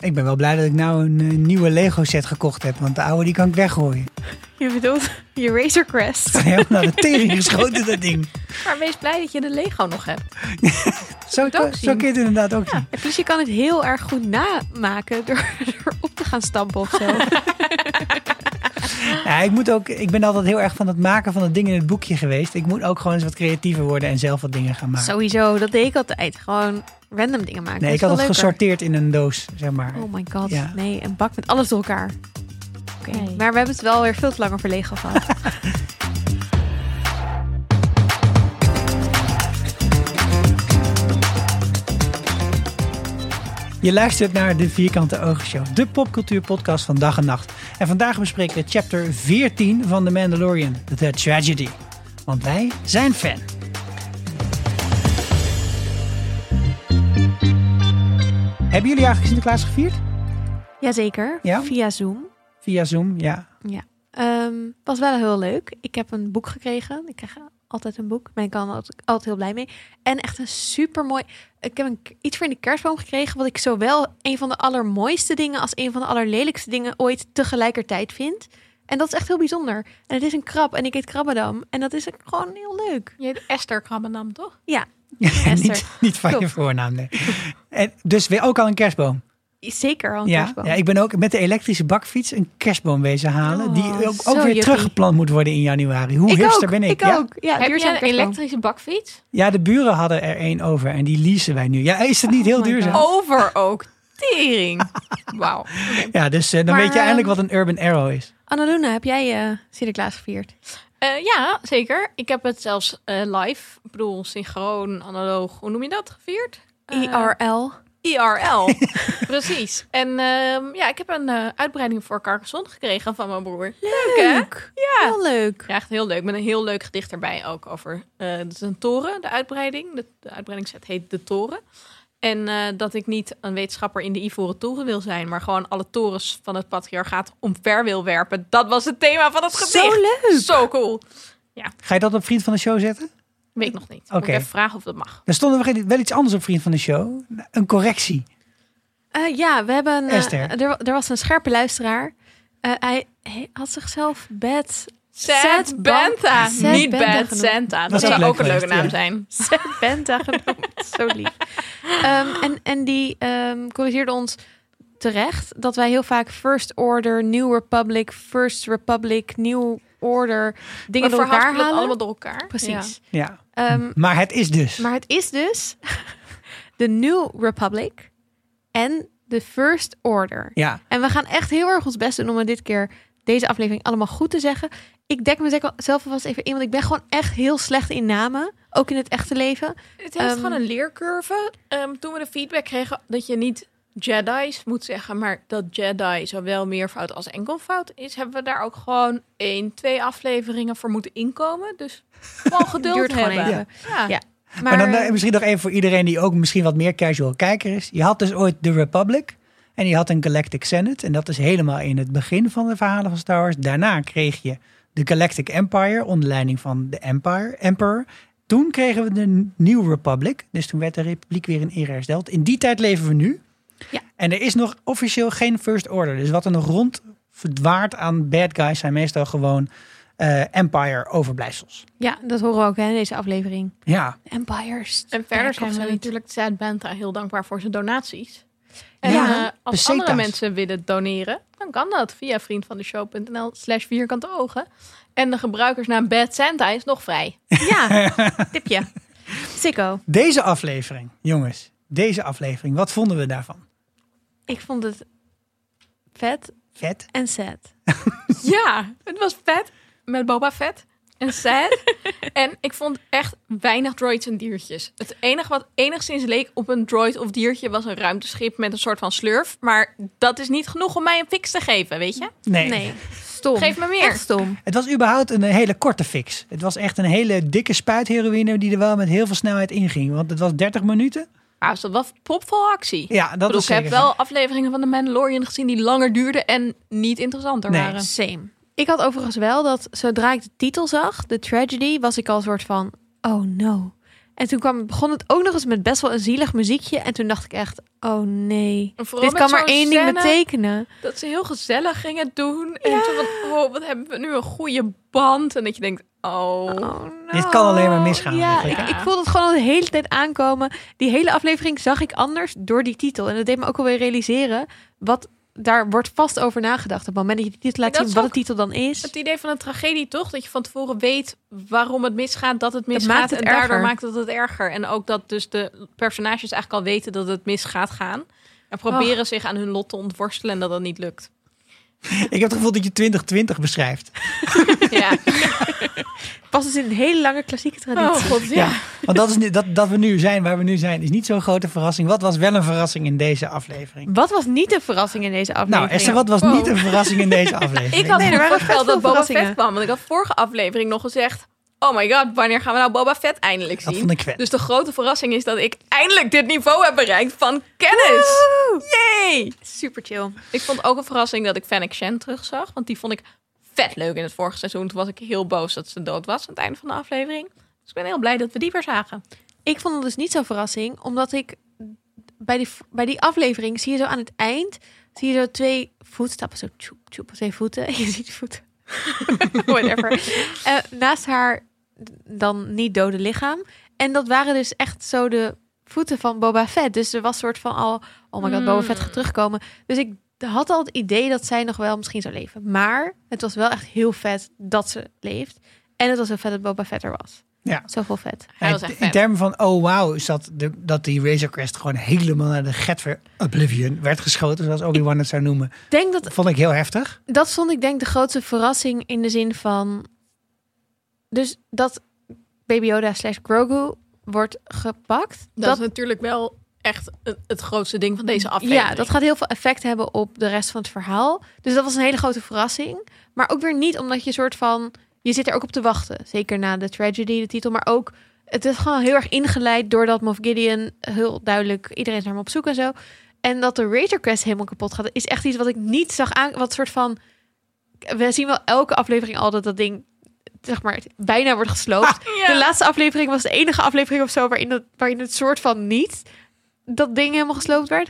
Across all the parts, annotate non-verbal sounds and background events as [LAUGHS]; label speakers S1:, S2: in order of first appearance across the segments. S1: Ik ben wel blij dat ik nou een eh, nieuwe Lego set gekocht heb, want de oude die kan ik weggooien. [LAUGHS]
S2: Je bedoelt je Razor Crest.
S1: Helemaal naar de tering geschoten, dat ding.
S2: [LAUGHS] Maar wees blij dat je de Lego nog hebt.
S1: Zo,
S2: het ook
S1: zo
S2: zien.
S1: kun je eh, het inderdaad ook zien.
S2: En plus je kan het heel erg goed namaken door [LAUGHS] erop te gaan stampen of [LAUGHS] zo.
S1: Ja, ik, moet ook, ik ben altijd heel erg van het maken van het ding in het boekje geweest. Ik moet ook gewoon eens wat creatiever worden en zelf wat dingen gaan maken.
S2: Sowieso, dat deed ik altijd. Gewoon random dingen maken.
S1: nee,
S2: Dat
S1: ik
S2: is
S1: had het
S2: veel leuker.
S1: gesorteerd in een doos, zeg maar.
S2: Oh my god,
S1: Ja.
S2: nee, een bak met alles door elkaar. Oké,
S3: Nee.
S2: maar we hebben het wel weer veel te lang over Lego [LAUGHS] gehad.
S1: Je luistert naar de Vierkante Ogen Show, de popcultuurpodcast van dag en nacht. En vandaag bespreken we chapter 14 van The Mandalorian, The Tragedy. Want wij zijn fan. Hebben jullie eigenlijk Sinterklaas gevierd?
S2: Jazeker,
S1: Ja?
S2: via Zoom.
S1: Via Zoom, ja. [LAUGHS]
S2: Ehm, was wel heel leuk. Ik heb een boek gekregen. Ik krijg altijd een boek. Ben ik al- altijd, altijd heel blij mee. En echt een super mooi. Ik heb een, k- iets voor in de kerstboom gekregen. Wat ik zowel een van de allermooiste dingen. als een van de allerlelijkste dingen ooit tegelijkertijd vind. En dat is echt heel bijzonder. En het is een krab. En ik eet krabbendam. En dat is gewoon heel leuk.
S3: Je heet Esther Krabbenam, toch?
S2: Esther.
S1: niet, niet van je
S2: Klopt.
S1: voornaam, nee. En dus weer ook al een kerstboom.
S2: Zeker al een
S1: Ja,
S2: kerstboom.
S1: ja, ik ben ook met de elektrische bakfiets een kerstboom wezen halen.
S2: Oh,
S1: die ook,
S2: zo
S1: ook weer
S2: juppie.
S1: teruggeplant moet worden in januari. Hoe
S2: ik
S1: hipster
S2: ook,
S1: ben ik?
S2: Ik
S1: ja.
S2: ook. Ja,
S3: Heb je
S2: duurzaam
S3: een
S2: kerstboom.
S3: elektrische bakfiets?
S1: Ja, de buren hadden er één over en die leasen wij nu. Ja, is het
S2: Oh
S1: niet heel
S3: my
S1: duurzaam?
S3: God.
S4: Over ook. Tering.
S3: [LAUGHS] Wauw. Oké.
S1: Ja, dus eh, dan
S2: Maar,
S1: weet je eindelijk
S2: ehm,
S1: wat een Urban Arrow is.
S2: Annaluna, heb jij eh, Sinterklaas gevierd?
S3: Eh, ja, zeker. Ik heb het zelfs eh, live, ik bedoel synchroon, analoog, hoe noem je dat, gevierd? Eh,
S2: E IRL.
S3: [LAUGHS] IRL. Precies. En ehm, ja, ik heb een eh, uitbreiding voor Carcassonne gekregen van mijn broer. Leuk, hè?
S2: Leuk. Ja. Heel leuk.
S3: Ja, echt heel leuk. Met een heel leuk gedicht erbij ook over eh het is een toren, de uitbreiding. De, de uitbreidingsset heet De Toren. En eh, dat ik niet een wetenschapper in de Ivoren Toren wil zijn, maar gewoon alle torens van het patriarchaat omver wil werpen. Dat was het thema van het
S2: Zo
S3: gedicht.
S2: leuk.
S3: Zo cool.
S1: Ga je dat op Vriend van de Show zetten?
S3: Weet ik nog niet. Moet
S1: Oké.
S3: ik even vragen of dat mag.
S1: Er stond er wel iets anders op Vriend van de Show. Een correctie.
S2: Eh, ja, we hebben. eh,
S1: Esther.
S2: er, wa- er was een scherpe luisteraar. Eh, hij, hij had zichzelf bed. [LAUGHS]
S3: Sad,
S2: Sad
S3: Banta.
S2: Ban- Sad
S3: niet
S2: Banta
S3: Bad
S2: genoemd.
S3: Santa.
S1: Dat
S3: Dat
S1: is
S3: zou
S1: ook
S3: ook een
S1: leuk
S3: leuke
S1: geweest,
S3: naam
S1: ja.
S3: zijn.
S2: Sad Benta genoemd. Zo lief. Ehm, en, en die ehm, corrigeerde ons terecht dat wij heel vaak First Order, New Republic, First Republic, New Order dingen door
S3: Maar
S2: elkaar
S3: verhaspelen het
S2: halen.
S3: allemaal door elkaar.
S2: Precies.
S1: Ja.
S2: Ehm,
S1: Maar het is dus.
S2: Maar het is dus [LAUGHS] de New Republic en de First Order.
S1: Ja.
S2: En we gaan echt heel erg ons best doen om het dit keer deze aflevering allemaal goed te zeggen. Ik dek mezelf alvast even in, want ik ben gewoon echt heel slecht in namen. Ook in het echte leven.
S3: Het heeft
S2: Ehm,
S3: gewoon een leercurve. Ehm, toen we de feedback kregen dat je niet Jedi's moet zeggen, maar dat Jedi zowel meervoud als enkelvoud is, hebben we daar ook gewoon één, twee afleveringen voor moeten inkomen. Dus
S2: [LAUGHS]
S3: gewoon geduld
S2: Duurt gewoon
S3: hebben.
S2: even.
S3: Ja.
S2: Ja.
S1: Maar,
S2: Maar,
S1: dan eh,
S2: eh,
S1: misschien nog even voor iedereen die ook misschien wat meer casual kijker is. Je had dus ooit The Republic en je had een Galactic Senate. En dat is helemaal in het begin van de verhalen van Star Wars. Daarna kreeg je de Galactic Empire onder leiding van de Empire, Emperor. Toen kregen we de New Republic. Dus toen werd de Republiek weer in ere hersteld. In die tijd leven we nu.
S2: Ja.
S1: En er is nog officieel geen First Order. Dus wat er nog rond verdwaart aan bad guys zijn meestal gewoon eh, Empire overblijfsels.
S2: ja, dat horen we ook hè, in deze aflevering.
S1: Ja,
S2: Empires.
S3: En verder
S2: Back of
S3: zijn we
S2: zoiets.
S3: natuurlijk Sad Banta heel dankbaar voor zijn donaties. En
S2: Ja.
S3: eh, als
S1: Pesetas.
S3: andere mensen willen doneren, dan kan dat via vriendvandeshow.nl slash vierkante ogen. En de gebruikersnaam Bad Santa is nog vrij.
S2: [LAUGHS] Ja,
S1: [LAUGHS]
S2: tipje. Sikko,
S1: Deze aflevering, jongens, deze aflevering, wat vonden we daarvan?
S2: ik vond het vet
S1: Vet?
S2: en sad.
S3: Ja, het was vet. Met Boba Fett. En [LAUGHS] sad. en ik vond echt weinig droids en diertjes. Het enige wat enigszins leek op een droid of diertje was een ruimteschip met een soort van slurf. Maar dat is niet genoeg om mij een fix te geven, weet je?
S1: Nee.
S2: Nee, stom.
S3: Geef me meer.
S2: Echt stom.
S1: Het was überhaupt een hele korte fix. Het was echt een hele dikke spuit heroïne die er wel met heel veel snelheid inging. Want het was 30 minuten.
S3: Maar was Ah, dat wel popvol actie?
S1: Ja, dat
S3: Ik bedoel,
S1: was
S3: ik heb
S1: zeker zo.
S3: wel afleveringen van The Mandalorian gezien die langer duurden en niet interessanter
S1: Nee.
S3: waren.
S2: Same. Ik had overigens wel dat zodra ik de titel zag, de tragedy, was ik al soort van, oh no. En toen kwam, begon het ook nog eens met best wel een zielig muziekje. En toen dacht ik echt, oh nee.
S3: En vooral
S2: Dit
S3: met
S2: kan maar
S3: zo'n
S2: één ding
S3: scène
S2: betekenen.
S3: Dat ze heel gezellig gingen doen. En toen van, oh, wat hebben we nu een goede band. En dat je denkt, oh.
S2: Oh, no.
S1: Dit kan alleen maar misgaan
S2: Ja, ik,
S1: eigenlijk,
S3: hè?
S2: ik voelde het gewoon al de hele tijd aankomen. Die hele aflevering zag ik anders door die titel. En dat deed me ook alweer realiseren. Wat, daar wordt vast over nagedacht. Op het moment dat je die titel laat
S3: dat
S2: zien,
S3: is
S2: wat de
S3: ook-
S2: titel dan is.
S3: Het idee van een tragedie toch? Dat je van tevoren weet waarom het misgaat, dat het misgaat.
S2: maakt het
S3: en daardoor
S2: erger.
S3: maakt het het erger. En ook dat dus de personages eigenlijk al weten dat het mis gaat gaan. En proberen zich aan hun lot te ontworstelen en dat dat niet lukt.
S1: Ik heb het gevoel dat je 2020 beschrijft.
S3: Ja.
S2: Pas dus in een hele lange klassieke traditie.
S3: god,
S1: Want dat, is, nu- dat, dat we nu zijn waar we nu zijn, is niet zo'n grote verrassing. Wat was wel een verrassing in deze aflevering?
S2: Wat was niet de verrassing in deze aflevering?
S1: Nou, Esther, wat was
S3: Wow.
S1: niet een verrassing in
S3: [LAUGHS]
S1: deze aflevering?
S3: [LAUGHS] Ik had
S2: Nee, er
S3: goed
S2: waren vet
S3: voorspeld
S2: veel
S3: dat Boba
S2: verrassingen.
S3: Fett kwam. Want ik had vorige aflevering nog gezegd... Oh my god, wanneer gaan we nou Boba Fett eindelijk
S1: dat
S3: zien?
S1: vond ik vet.
S3: Dus de grote verrassing is dat ik eindelijk dit niveau heb bereikt van kennis. Yay!
S2: Super chill.
S3: Ik vond ook een verrassing dat ik Fennec Shen terugzag. Want die vond ik vet leuk in het vorige seizoen. Toen was ik heel boos dat ze dood was aan het einde van de aflevering. Dus ik ben heel blij dat we die weer zagen.
S2: Ik vond het dus niet zo'n verrassing, omdat ik bij die, bij die aflevering zie je zo aan het eind, zie je zo twee voetstappen, zo tjoep, tjoep, twee voeten. [LAUGHS] Je ziet voeten. Whatever. Eh, naast haar dan niet dode lichaam. En dat waren dus echt zo de voeten van Boba Fett. Dus er was soort van al, oh my god, Boba Fett gaat terugkomen. Dus ik had al het idee dat zij nog wel misschien zou leven. Maar het was wel echt heel vet dat ze leeft. En het was heel vet dat Boba Fett er was.
S1: Ja.
S2: Zoveel vet.
S3: Hij was
S1: Ja,
S3: echt
S1: in
S3: vet.
S1: termen van, oh wow, is dat, de, dat die Razor Crest gewoon helemaal naar de Getver Oblivion werd geschoten, zoals Obi-Wan het zou noemen.
S2: Ik denk dat
S1: Dat vond ik heel heftig.
S2: dat vond ik denk de grootste verrassing in de zin van... Dus dat Baby Yoda slash Grogu wordt gepakt.
S3: Dat, is natuurlijk wel echt het- het grootste ding van deze aflevering.
S2: ja, dat gaat heel veel effect hebben op de rest van het verhaal. Dus dat was een hele grote verrassing. Maar ook weer niet omdat je soort van... Je zit er ook op te wachten. Zeker na de tragedy, de titel. Maar ook, het is gewoon heel erg ingeleid... doordat Moff Gideon heel duidelijk... iedereen is naar hem op zoek en zo. En dat de Razor Crest helemaal kapot gaat... is echt iets wat ik niet zag aan... Wat soort van... We zien wel elke aflevering al dat dat ding... zeg maar, bijna wordt gesloopt.
S3: Ja.
S2: De laatste aflevering was de enige aflevering of zo waarin, dat, waarin het soort van niet dat ding helemaal gesloopt werd.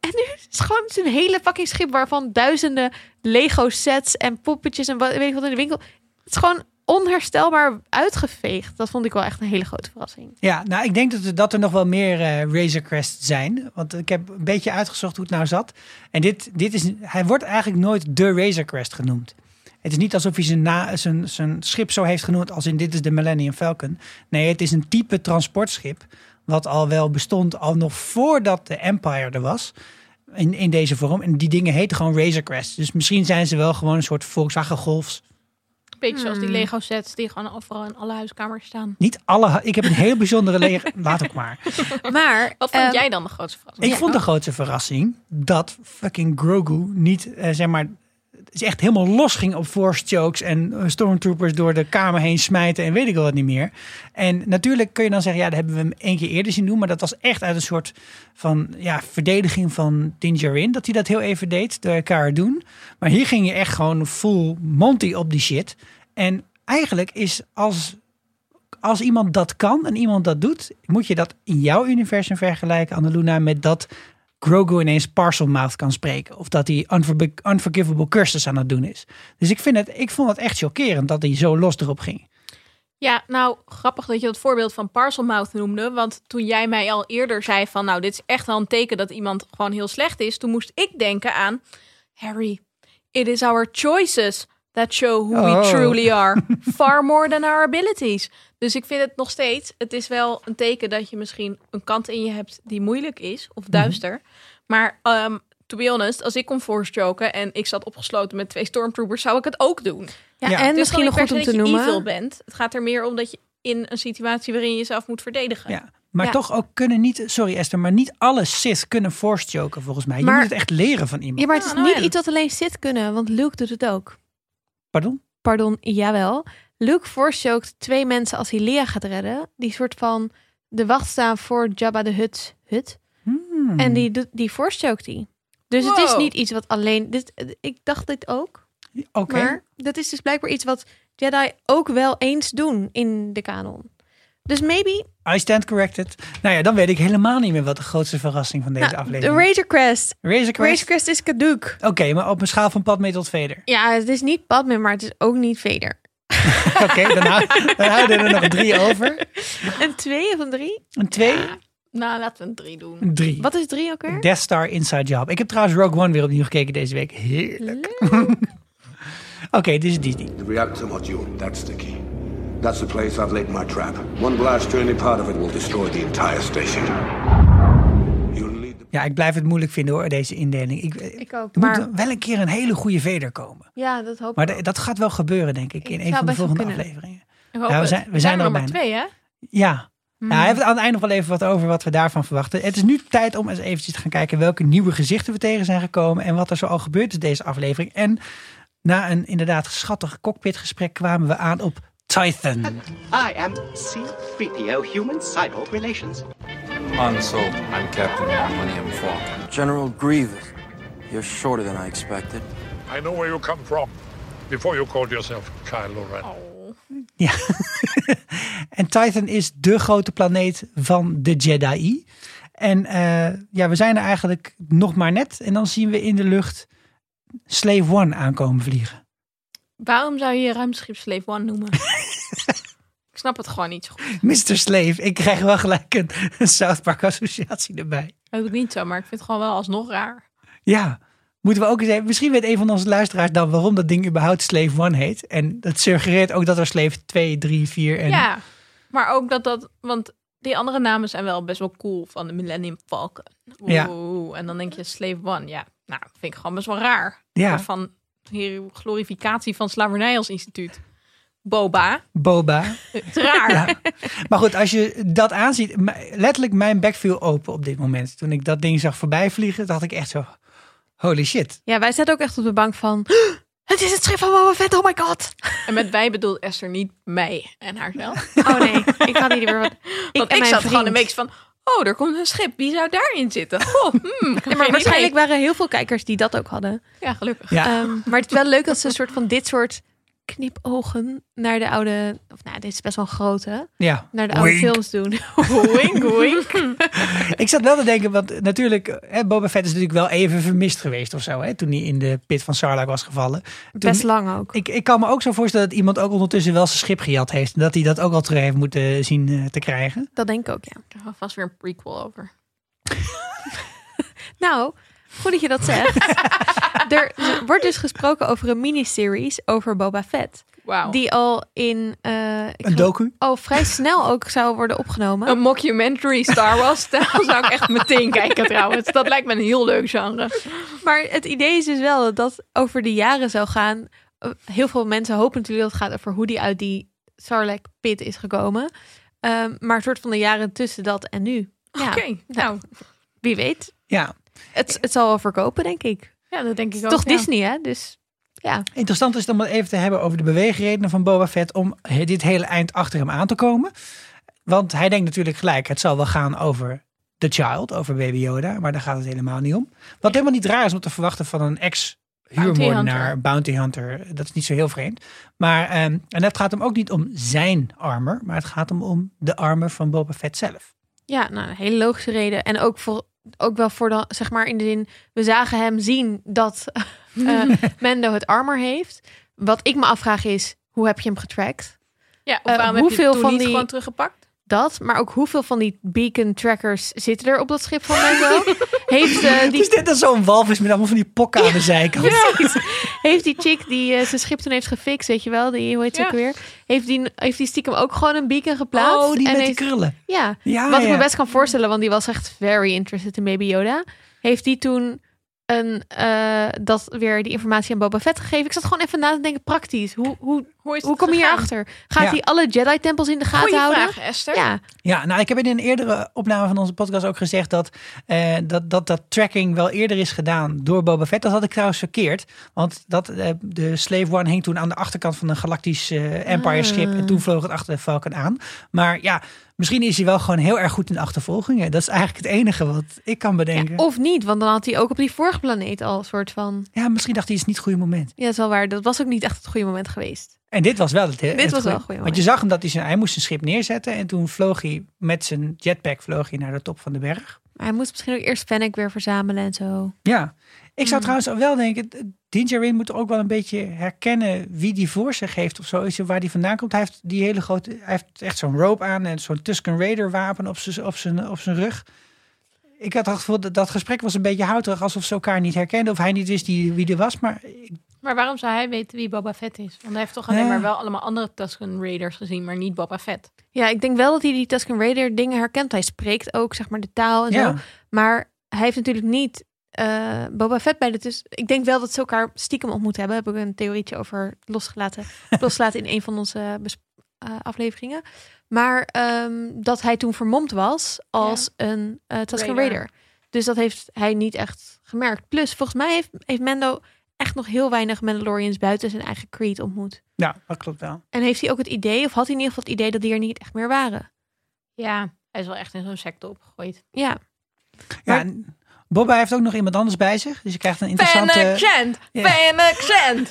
S2: En nu is het gewoon een hele fucking schip waarvan duizenden Lego sets en poppetjes en wat, weet ik wat in de winkel. Het is gewoon onherstelbaar uitgeveegd. Dat vond ik wel echt een hele grote verrassing.
S1: Ja, nou ik denk dat er, dat er nog wel meer eh Razor Crest zijn. Want ik heb een beetje uitgezocht hoe het nou zat. En dit, dit is, hij wordt eigenlijk nooit de Razor Crest genoemd. Het is niet alsof hij zijn, na, zijn, zijn schip zo heeft genoemd als in dit is de Millennium Falcon. Nee, het is een type transportschip wat al wel bestond al nog voordat de Empire er was. In, in deze vorm. En die dingen heten gewoon Razor Crest. Dus misschien zijn ze wel gewoon een soort Volkswagen Golfs.
S3: Beetje zoals die Lego sets die gewoon overal in alle huiskamers [LAUGHS] staan.
S1: Niet alle. Ik heb een heel bijzondere leger. Laat ook maar.
S2: Maar
S3: Wat vond
S2: ehm,
S3: jij dan de grootste verrassing?
S1: Ik
S2: Ja.
S1: vond de grootste verrassing dat fucking Grogu niet, eh, zeg maar, het is echt helemaal los ging op force chokes en eh, stormtroopers door de kamer heen smijten en weet ik wel wat niet meer. En natuurlijk kun je dan zeggen, ja, dat hebben we hem één keer eerder zien doen, maar dat was echt uit een soort van, ja, verdediging van Dingerin, dat hij dat heel even deed door elkaar doen. Maar hier ging je echt gewoon full Monty op die shit. En eigenlijk is als als iemand dat kan en iemand dat doet, moet je dat in jouw universum vergelijken, Annaluna, met dat Grogu ineens parcel mouth kan spreken. Of dat hij unforbi- unforgivable curses aan het doen is. Dus ik, vind het, ik vond het echt chockerend dat hij zo los erop ging.
S3: Ja, nou, grappig dat je dat voorbeeld van Parcelmouth noemde. Want toen jij mij al eerder zei van... nou, dit is echt wel een teken dat iemand gewoon heel slecht is... toen moest ik denken aan... Harry, it is our choices that show who
S1: Oh.
S3: we truly are. Far more than our abilities. Dus ik vind het nog steeds... het is wel een teken dat je misschien een kant in je hebt... die moeilijk is of duister. Maar ehm, to be honest, als ik kon force joken... en ik zat opgesloten met twee stormtroopers... zou ik het ook doen.
S2: ja,
S1: Ja.
S2: en
S3: Het is
S2: misschien nog
S3: gewoon
S2: goed
S3: niet
S2: om
S3: per
S2: te
S3: se dat je evil
S2: noemen.
S3: bent. Het gaat er meer om dat je in een situatie waarin je jezelf moet verdedigen.
S1: Ja. Maar
S2: Ja.
S1: toch ook kunnen niet, sorry Esther, maar niet alle Sith kunnen force joken volgens mij. Je
S2: Maar-
S1: moet het echt leren van iemand.
S2: Ja, maar het is
S3: Ja, nou
S2: niet
S3: en?
S2: iets wat alleen zit kunnen, want Luke doet het ook.
S1: Pardon?
S2: pardon, jawel. Luke voorstookt twee mensen als hij Leia gaat redden. Die soort van de wacht staan voor Jabba de Hut. hut.
S1: Hmm.
S2: En die, doet- die voorstookt hij. Dus het is
S3: Mm. Wow.
S2: niet iets wat alleen... Dit, ik dacht dit ook.
S1: Oké.
S2: Maar dat is dus blijkbaar iets wat Jedi ook wel eens doen in de kanon. Dus maybe
S1: I stand corrected. Nou ja, dan weet ik helemaal niet meer wat de grootste verrassing van deze
S2: nou, de
S1: aflevering is.
S2: Razor Crest.
S1: Razor Crest?
S2: Razor Crest is caduc.
S1: Oké, maar op een schaal van Padmé tot Vader.
S2: Ja, het is niet Padme, maar het is ook niet Vader.
S1: Oké, dan, hou- dan houden er nog drie over.
S2: Een twee of een drie?
S1: Een twee,
S3: Nou, laten we een drie doen.
S1: een drie.
S2: Wat is drie ook weer?
S1: Death Star Inside Job. Ik heb trouwens Rogue One weer opnieuw gekeken deze week. Heerlijk. Oké, dit is Disney.
S5: The reactor module, that's the key. That's the place I've laid my trap. One blast to any part of it will destroy the entire station. You'll need the...
S1: Ja, ik blijf het moeilijk vinden hoor, deze indeling. Ik,
S2: Ik ook,
S1: Er
S2: maar-
S1: moet wel een keer een hele goede Vader komen.
S2: Ja, dat hoop
S1: Maar
S2: ik.
S1: de- dat gaat wel gebeuren, denk ik, in
S2: zou
S1: een van de
S2: best wel
S1: volgende
S2: kunnen.
S1: afleveringen.
S3: Ik hoop
S1: Ja, we
S3: het.
S1: zijn- we zijn er
S3: er
S1: al
S3: maar
S1: bijna.
S3: twee, hè?
S1: Ja. Nou, hij heeft aan het einde nog wel even wat over wat we daarvan verwachten. Het is nu tijd om eens eventjes te gaan kijken welke nieuwe gezichten we tegen zijn gekomen. En wat er zo al gebeurd is deze aflevering. En na een inderdaad schattig cockpitgesprek kwamen we aan op Titan.
S6: I am C3PO Human Cyborg Relations.
S7: Han Solo. I'm Captain Millennium Falcon.
S8: General Grievous, you're shorter than I expected.
S9: I know where you come from. Before you called yourself Kylo Ren.
S1: Ja. en Titan is de grote planeet van de Jedi. En eh, ja, we zijn er eigenlijk nog maar net. En dan zien we in de lucht Slave One aankomen vliegen. [LAUGHS]
S3: Waarom zou je je ruimteschip Slave One noemen? ik snap het gewoon niet zo goed.
S1: Mr. Slave, ik krijg wel gelijk een, een South Park associatie erbij.
S3: Dat doe ik niet zo, maar ik vind het gewoon wel alsnog raar.
S1: Ja, moeten we ook eens even. Misschien weet een van onze luisteraars dan waarom dat ding überhaupt Slave One heet. En dat suggereert ook dat er Slave 2, 3, 4 en.
S3: Ja, maar ook dat dat... Want die andere namen zijn wel best wel cool van de Millennium Falcon.
S1: Ja.
S3: Oeh, en dan denk je Slave One. Ja, nou, vind ik gewoon best wel raar.
S1: Ja.
S3: Een soort Van hier glorificatie van slavernij als instituut. Boba.
S1: Boba.
S3: Het is raar.
S1: Ja. Maar goed, als je dat aanziet. m- Letterlijk, mijn bek viel open op dit moment. Toen ik dat ding zag voorbij vliegen, dacht ik echt zo. Holy shit.
S2: Ja, wij zaten ook echt op de bank van... Het is het schip van Boba Fett, oh my
S3: [LAUGHS]
S2: god.
S3: En met wij bedoelt Esther niet mij en haarzelf.
S2: Oh nee, ik had niet meer wat... Ik,
S3: Want ik, zat gewoon een beetje van... Oh, er komt een schip. Wie zou daarin zitten? Goh, hmm,
S2: Maar
S3: ik heb geen idee.
S2: waarschijnlijk waren heel veel kijkers die dat ook hadden.
S3: Ja, gelukkig.
S1: Ja.
S2: Ehm, maar het is wel leuk dat ze een soort van dit soort knipogen naar de oude... Of nou, dit is best wel een grote.
S1: ja.
S2: Naar de oude
S1: Wink.
S2: films doen. [LAUGHS]
S3: Wink, wink.
S1: Ik zat wel te denken, want natuurlijk, hè, Boba Fett is natuurlijk wel even vermist geweest of zo. Hè, toen hij in de pit van Sarlacc was gevallen. Toen,
S2: Best lang ook.
S1: Ik, ik kan me ook zo voorstellen dat iemand ook ondertussen wel zijn schip gejat heeft. En dat hij dat ook al terug heeft moeten zien eh, te krijgen.
S2: Dat denk ik ook, ja.
S3: Er was vast weer een prequel over.
S2: Nou, goed dat je dat
S1: [LAUGHS]
S2: zegt. er wordt dus gesproken over een miniseries over Boba Fett.
S3: Wauw.
S2: Die al in... eh, ik
S1: Een
S2: geloof-
S1: docu?
S2: al vrij snel ook zou worden opgenomen.
S3: Een mockumentary Star Wars stijl zou ik echt [LAUGHS] meteen kijken trouwens. Dat lijkt me een heel leuk genre.
S2: Maar het idee is dus wel dat dat over de jaren zou gaan. Eh, Heel veel mensen hopen natuurlijk dat het gaat over hoe die uit die Sarlacc pit is gekomen. Ehm, maar een soort van de jaren tussen dat en nu. Ja,
S3: Oké, nou.
S2: wie weet.
S1: Ja,
S2: Het, het zal wel verkopen, denk ik.
S3: Ja, dat denk ik ook.
S2: Toch
S3: ja.
S2: Disney, hè? Dus ja.
S1: interessant is het om het even te hebben over de beweegredenen van Boba Fett om he- dit hele eind achter hem aan te komen. Want hij denkt natuurlijk gelijk, het zal wel gaan over The Child, over baby Yoda, maar daar gaat het helemaal niet om. Wat helemaal niet raar is om te verwachten van een ex
S3: Bounty
S1: huurmoordenaar,
S3: hunter.
S1: bounty hunter. Dat is niet zo heel vreemd. Maar, ehm, en het gaat hem ook niet om zijn armor, maar het gaat hem om de armor van Boba Fett zelf.
S2: Ja, nou, een hele logische reden. En ook, voor, ook wel voor, dan, zeg maar, in de zin... We zagen hem zien dat [LAUGHS] eh, Mendo het armor heeft. Wat ik me afvraag is, hoe heb je hem getrackt?
S3: Ja, of
S2: Eh,
S3: waarom heb je
S2: hoeveel
S3: het toen
S2: van
S3: niet
S2: die-
S3: gewoon teruggepakt?
S2: Dat, maar ook hoeveel van die beacon trackers zitten er op dat schip van Mendo? heeft, eh,
S1: Is
S2: [LAUGHS] die,
S1: Dus dit dan zo'n walvis met allemaal van die pokken aan de zijkant?
S2: heeft die chick die eh, zijn schip toen heeft gefixt, weet je wel, die, hoe heet ze
S3: Ja.
S2: ook weer? Heeft die, heeft die stiekem ook gewoon een beacon geplaatst?
S1: oh, die met
S2: heeft-
S1: die krullen.
S2: Ja,
S1: Ja,
S2: wat ik
S1: ja.
S2: me best kan voorstellen, want die was echt very interested in Baby Yoda. Heeft die toen een, eh, dat weer die informatie aan Boba Fett gegeven? Ik zat gewoon even na te denken, praktisch. Hoe, hoe,
S3: Hoe, is
S2: hoe
S3: het
S2: kom je
S3: gegaan?
S2: hierachter? Gaat
S1: Ja.
S2: hij alle Jedi-tempels in de gaten
S3: Goeie
S2: houden?
S3: vraag, Esther.
S2: Ja,
S1: Ja, nou, ik heb in een eerdere opname van onze podcast ook gezegd dat, eh, dat, dat dat tracking wel eerder is gedaan door Boba Fett. Dat had ik trouwens verkeerd, want dat, eh, de Slave One hing toen aan de achterkant van een galactisch eh, Empire-schip en
S2: Ah.
S1: toen vloog het achter de Falcon aan. Maar ja, misschien is hij wel gewoon heel erg goed in achtervolgingen. Dat is eigenlijk het enige wat ik kan bedenken. Ja,
S2: Of niet, want dan had hij ook op die vorige planeet al een soort van...
S1: misschien dacht hij, het is niet het goede moment.
S2: Ja, dat is wel waar. Dat was ook niet echt het goede moment geweest.
S1: En dit was wel het
S2: Dit was wel een goeie
S1: Want je zag hem dat hij zijn, hij moest zijn schip neerzetten. En toen vloog hij met zijn jetpack vloog hij naar de top van de berg.
S2: Maar hij moet misschien ook eerst Fennec weer verzamelen en zo.
S1: Ja, ik zou trouwens wel denken, Din Djarin moet ook wel een beetje herkennen wie die voor zich heeft of zo. Is waar die vandaan komt. Hij heeft die hele grote, hij heeft echt zo'n rope aan en zo'n Tusken Raider wapen op zijn op zijn op zijn rug. Ik had het gevoel dat dat gesprek was een beetje houterig, alsof ze elkaar niet herkenden of hij niet wist die, wie er was. Maar ik-
S3: Maar waarom zou hij weten wie Boba Fett is? Want hij heeft toch alleen
S1: Ja.
S3: maar wel allemaal andere Tusken Raiders gezien, maar niet Boba Fett.
S2: Ja, ik denk wel dat hij die Tusken Raider dingen herkent. Hij spreekt ook, zeg maar, de taal en
S1: ja,
S2: zo. Maar hij heeft natuurlijk niet eh, Boba Fett bij de dus Ik denk wel dat ze elkaar stiekem ontmoet hebben. Heb ik een theorietje over [LAUGHS] losgelaten. losgelaten in een van onze bes- eh, afleveringen. Maar ehm, dat hij toen vermomd was als een eh Tusken
S3: Raider.
S2: Raider. Dus dat heeft hij niet echt gemerkt. Plus, volgens mij heeft, heeft Mendo echt nog heel weinig Mandalorians buiten zijn eigen creed ontmoet.
S1: ja, dat klopt wel.
S2: En heeft hij ook het idee, of had hij in ieder geval het idee dat die er niet echt meer waren?
S3: Ja, hij is wel echt in zo'n secte opgegooid.
S2: Ja,
S1: Ja,
S2: Maar-
S1: en Bobba heeft ook nog iemand anders bij zich, dus je krijgt een interessante.
S3: Fennec Shand!
S1: Ja.
S3: Fennec Shand!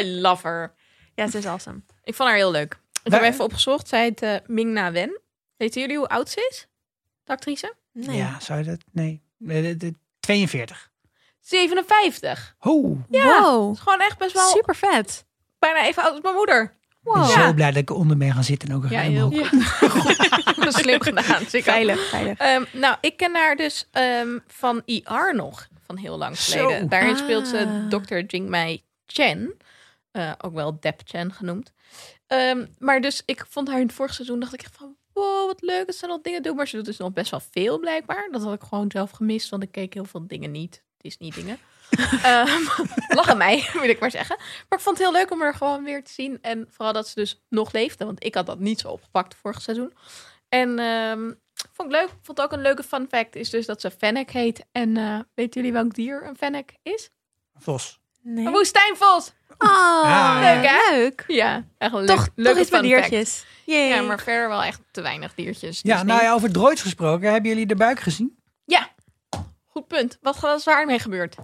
S3: I love her.
S2: ja ze is awesome.
S3: Ik vond haar heel leuk. Ik
S1: Waar-
S3: heb even opgezocht. Zij heet eh, Ming-Na Wen. Weten jullie hoe oud ze is? De actrice?
S2: Nee.
S1: Ja, zou je dat? Nee, Nee, de- de- 42.
S3: 57.
S1: Ho,
S3: Ja.
S2: Wow,
S3: Dat is gewoon echt best wel
S2: super vet.
S3: bijna even oud als mijn moeder.
S1: ik ben
S2: Wow.
S1: zo blij dat ik onder ben gaan zitten en ook een
S3: Ja,
S1: ruim
S3: heel
S1: ook.
S3: goed. Goed. [LAUGHS] Slim gedaan. Zeker.
S2: Veilig, veilig.
S3: [LAUGHS] Ehm, nou, ik ken haar dus ehm, van IR nog, van heel lang
S1: Zo.
S3: geleden. Daarin
S2: Ah.
S3: speelt ze Dr. Jingmei Chen, eh, ook wel Deb Chen genoemd. Ehm, maar dus ik vond haar in het vorige seizoen, dacht ik echt van, wow, wat leuk dat ze nog dingen doet. Maar ze doet dus nog best wel veel blijkbaar. Dat had ik gewoon zelf gemist, want ik keek heel veel dingen niet. Disney dingen. Ehm lach aan mij, [LAUGHS] wil ik maar zeggen. Maar ik vond het heel leuk om haar gewoon weer te zien. En vooral dat ze dus nog leefde, want ik had dat niet zo opgepakt vorig seizoen. En ehm, Vond ik leuk. Vond ook een leuke fun fact is dus dat ze Fennec heet. En eh weten jullie welk dier een Fennec is?
S1: Vos.
S2: Nee.
S3: Een woestijnvos!
S2: Oh,
S1: Ah,
S3: Leuk, hè?
S2: Leuk.
S3: Ja, echt een leuk,
S2: Toch, toch
S3: leuke
S2: iets met
S3: fun fact.
S2: diertjes. Yay.
S3: Ja, maar verder wel echt te weinig diertjes. Dus
S1: Ja,
S3: Disney.
S1: nou ja, over droids gesproken. Hebben jullie de buik gezien?
S3: Ja, goed punt. Wat was daarmee gebeurd?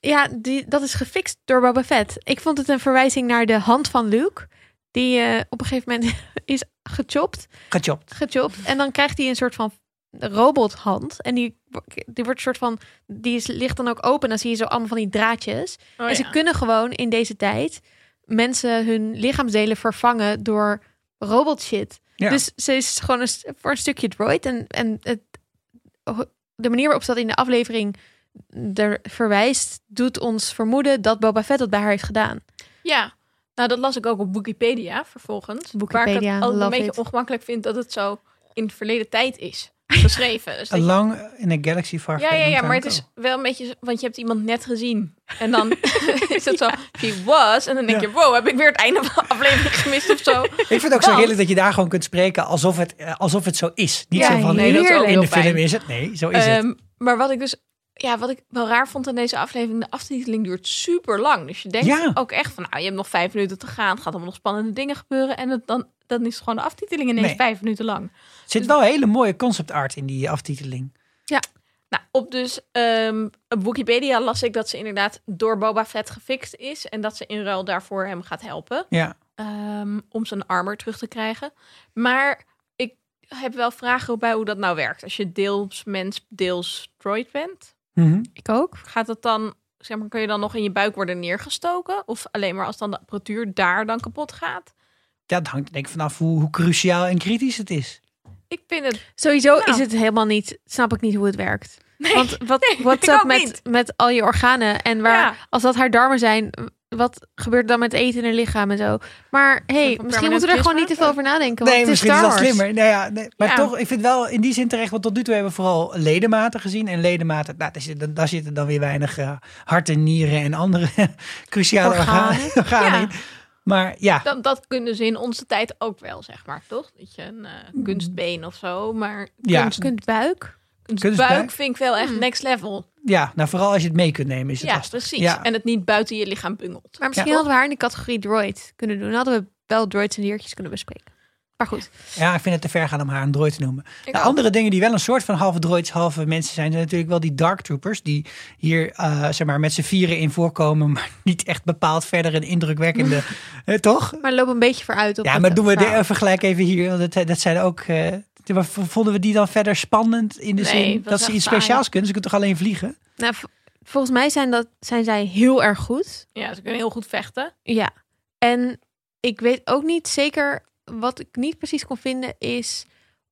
S2: Ja, die, dat is gefixt door Boba Fett. Ik vond het een verwijzing naar de hand van Luke. Die eh, op een gegeven moment [LAUGHS] is gechopt,
S1: Kachopt.
S2: gechopt. En dan krijgt hij een soort van robothand. En die, wo- die wordt een soort van. Die is, ligt dan ook open. Dan zie je zo allemaal van die draadjes.
S3: Oh,
S2: en ze kunnen gewoon in deze tijd mensen hun lichaamsdelen vervangen door robot shit.
S1: Ja.
S2: Dus ze is gewoon een, st- voor een stukje droid. En, en het, de manier waarop ze dat in de aflevering er verwijst, doet ons vermoeden dat Boba Fett dat bij haar heeft gedaan.
S3: Ja, nou dat las ik ook op Wikipedia vervolgens. waar ik
S2: Wikipedia,
S3: het altijd een
S2: love
S3: beetje
S2: it.
S3: ongemakkelijk vind dat het zo in het verleden tijd is geschreven.
S1: [LAUGHS]
S3: Dus dat je-
S1: Along in a galaxy far
S3: Ja, ja,
S1: away
S3: ja,
S1: time
S3: maar het
S1: ago.
S3: is wel een beetje, want je hebt iemand net gezien. En dan
S1: [LAUGHS]
S3: [LAUGHS] is het zo, she was. En dan denk
S1: Ja.
S3: je, wow, heb ik weer het einde van de aflevering gemist of
S1: [LAUGHS]
S3: zo.
S1: Ik vind het ook zo
S3: Want-
S1: heerlijk dat je daar gewoon kunt spreken alsof het, eh, alsof het zo is. Niet
S2: Ja,
S1: zo van,
S2: nee,
S1: in,
S2: dat is ook
S1: in
S3: heel
S1: de film
S3: fijn.
S1: is het. Nee, zo is het.
S3: Ehm, maar wat ik dus, ja, wat ik wel raar vond aan deze aflevering, de aftiteling duurt super lang. Dus je denkt
S1: Ja.
S3: ook echt van, nou, je hebt nog vijf minuten te gaan. Het gaat allemaal nog spannende dingen gebeuren. En het, dan, dan is gewoon de aftiteling ineens
S1: Nee.
S3: vijf minuten lang.
S1: Er zit wel hele mooie concept art in die aftiteling.
S3: Nou, op dus ehm, op Wikipedia las ik dat ze inderdaad door Boba Fett gefixt is. En dat ze in ruil daarvoor hem gaat helpen.
S1: Ja,
S3: ehm, om zijn armor terug te krijgen. Maar ik heb wel vragen bij hoe dat nou werkt. Als je deels mens, deels droid bent,
S1: Mhm.
S2: Ik ook.
S3: gaat dat dan, zeg maar, kun je dan nog in je buik worden neergestoken? Of alleen maar als dan de apparatuur daar dan kapot gaat?
S1: dat hangt denk ik vanaf hoe, hoe cruciaal en kritisch het is.
S3: Ik vind het.
S2: Sowieso
S3: Nou.
S2: is het helemaal niet, snap ik niet hoe het werkt. Want wat,
S3: nee,
S2: what's
S3: ik
S2: up
S3: ook
S2: met,
S3: niet.
S2: met al je organen? En waar,
S3: Ja.
S2: als dat haar darmen zijn, wat gebeurt er dan met eten in haar lichaam en zo? Maar hey,
S3: van
S2: misschien moeten we er
S3: permanent
S2: gewoon niet te veel
S3: prisma?
S2: over nadenken. Want
S1: Nee,
S2: het is
S1: misschien is
S2: Star
S1: dat
S2: Wars.
S1: slimmer. Nou ja, nee, maar
S3: Ja.
S1: toch, ik vind wel in die zin terecht, want tot nu toe hebben we vooral ledematen gezien. En ledematen, nou, daar, zitten, daar zitten dan weer weinig eh, harten, nieren en andere [LAUGHS] cruciale organen,
S2: Organen.
S1: organen in. [LAUGHS] Maar ja,
S3: Dat, dat kunnen ze in onze tijd ook wel, zeg maar, toch? Dat je een eh, kunstbeen of zo, maar
S1: Mm. ja.
S2: Je kunt buik.
S3: kunstbuik
S1: Kunstbuik?
S3: vind ik wel echt next level.
S1: Ja, nou vooral als je het mee kunt nemen is het
S3: Ja,
S1: lastig.
S3: precies.
S1: Ja.
S3: En het niet buiten je lichaam bungelt.
S2: Maar misschien
S1: Ja.
S2: hadden we haar in de categorie droid kunnen doen. Dan hadden we wel droids en diertjes kunnen bespreken. Maar goed.
S1: Ja, ik vind het te ver gaan om haar een droid te noemen. Nou,
S3: ook.
S1: andere dingen die wel een soort van halve droids, halve mensen zijn, zijn natuurlijk wel die Dark Troopers. Die hier eh, zeg maar, met z'n vieren in voorkomen, [LAUGHS] maar niet echt bepaald verder een indrukwekkende. eh, toch?
S2: Maar loop een beetje vooruit op
S1: Ja,
S2: het,
S1: maar
S2: eh,
S1: doen we de,
S2: verhaal.
S1: eh, vergelijk even hier. Want dat, dat zijn ook. eh, t- maar v- vonden we die dan verder spannend in de
S3: Nee,
S1: zin
S3: het was
S1: dat ze
S3: echt
S1: iets
S3: saai.
S1: speciaals kunnen? Ze kunnen toch alleen vliegen?
S2: Nou, v- volgens mij zijn, dat, zijn zij heel erg goed.
S3: Ja, ze kunnen heel goed vechten.
S2: Ja. En ik weet ook niet zeker, wat ik niet precies kon vinden, is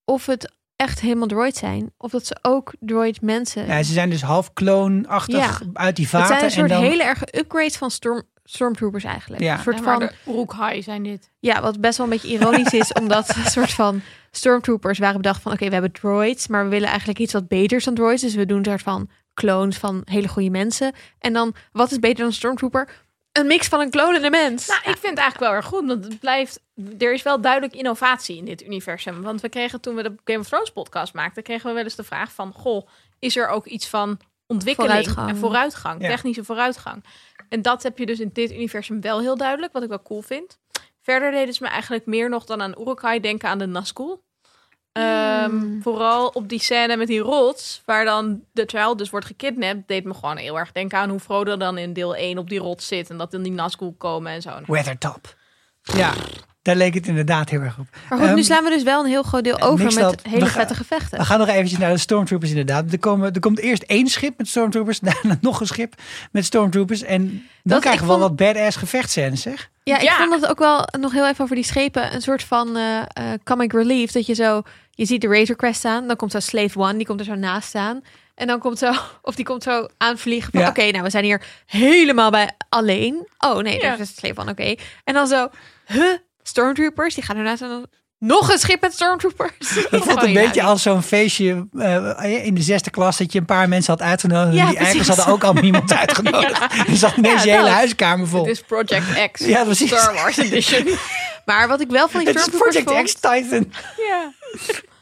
S2: of het echt helemaal droid zijn. Of dat ze ook droid mensen.
S1: Ja, ze zijn dus half kloonachtig
S2: Ja.
S1: uit die
S2: het
S1: vaten.
S2: zijn een soort
S1: en dan,
S2: hele erge upgrades van storm, stormtroopers eigenlijk.
S1: Ja.
S2: Een soort
S3: Ja, maar
S2: van,
S3: de Uruk-hai zijn dit.
S2: ja, wat best wel een beetje ironisch
S1: [LAUGHS]
S2: is, omdat een soort van stormtroopers waren bedacht van oké, we hebben droids, maar we willen eigenlijk iets wat beters dan droids. Dus we doen een soort van clones van hele goede mensen. En dan, wat is beter dan een stormtrooper? Een mix van een clone en een mens.
S3: Nou, ik vind het eigenlijk wel erg goed, want het blijft... Er is wel duidelijk innovatie in dit universum. Want we kregen toen we de Game of Thrones podcast maakten, kregen we wel eens de vraag van... Goh, is er ook iets van ontwikkeling
S2: Vooruitgang.
S3: en vooruitgang,
S1: Ja.
S3: technische vooruitgang? En dat heb je dus in dit universum wel heel duidelijk, wat ik wel cool vind. Verder deden ze me eigenlijk meer nog dan aan Urukai denken aan de Nazgul. Ehm, Vooral op die scène met die rots, waar dan de child dus wordt gekidnapt, deed me gewoon heel erg denken aan hoe Frodo dan in deel 1 op die rots zit en dat dan die Nazgul komen en zo. En
S1: Weathertop. Ja, daar leek het inderdaad heel erg op.
S2: Maar goed,
S1: Ehm, eh,
S2: nu slaan we dus wel een heel groot deel over
S1: niks
S2: met
S1: dat- we
S2: hele
S1: gaan-
S2: vette gevechten.
S1: We gaan nog eventjes naar de stormtroopers inderdaad. Er, komen, er komt eerst één schip met stormtroopers, [LAUGHS] daarna nog een schip met stormtroopers. En dan
S2: Dat-
S1: krijgen we
S2: ik
S1: wel
S2: vond-
S1: wat badass gevechtscènes, zeg.
S2: Ja, ik
S3: Ja.
S2: vond dat ook wel nog heel even over die schepen. Een soort van eh, eh, comic relief. Dat je zo, je ziet de Razor Crest staan. Dan komt zo Slave One, die komt er zo naast staan. En dan komt zo, [LAUGHS] of die komt zo aanvliegen van...
S1: Ja.
S2: Oké, nou, we zijn hier helemaal bij alleen. Oh nee,
S3: Ja.
S2: dat is Slave One, oké. En dan zo, huh, Stormtroopers. Die gaan ernaast en dan nog een schip met Stormtroopers. Oh
S1: Dat voelt een beetje als zo'n feestje eh, in de zesde klas dat je een paar mensen had uitgenodigd.
S2: Ja,
S1: en die eigenlijk
S2: precies.
S1: hadden ook al
S2: [LAUGHS]
S1: iemand [LAUGHS] uitgenodigd. Er zat ineens je
S2: Ja,
S1: hele
S2: dat.
S1: huiskamer vol.
S3: Het is Project X.
S1: [LAUGHS] Ja, precies.
S3: Star Wars Edition.
S1: [LAUGHS]
S2: Maar wat ik wel van die
S1: Het is
S2: Stormtroopers
S1: Project
S2: vond-
S1: X Titan.
S2: Ja. [LAUGHS]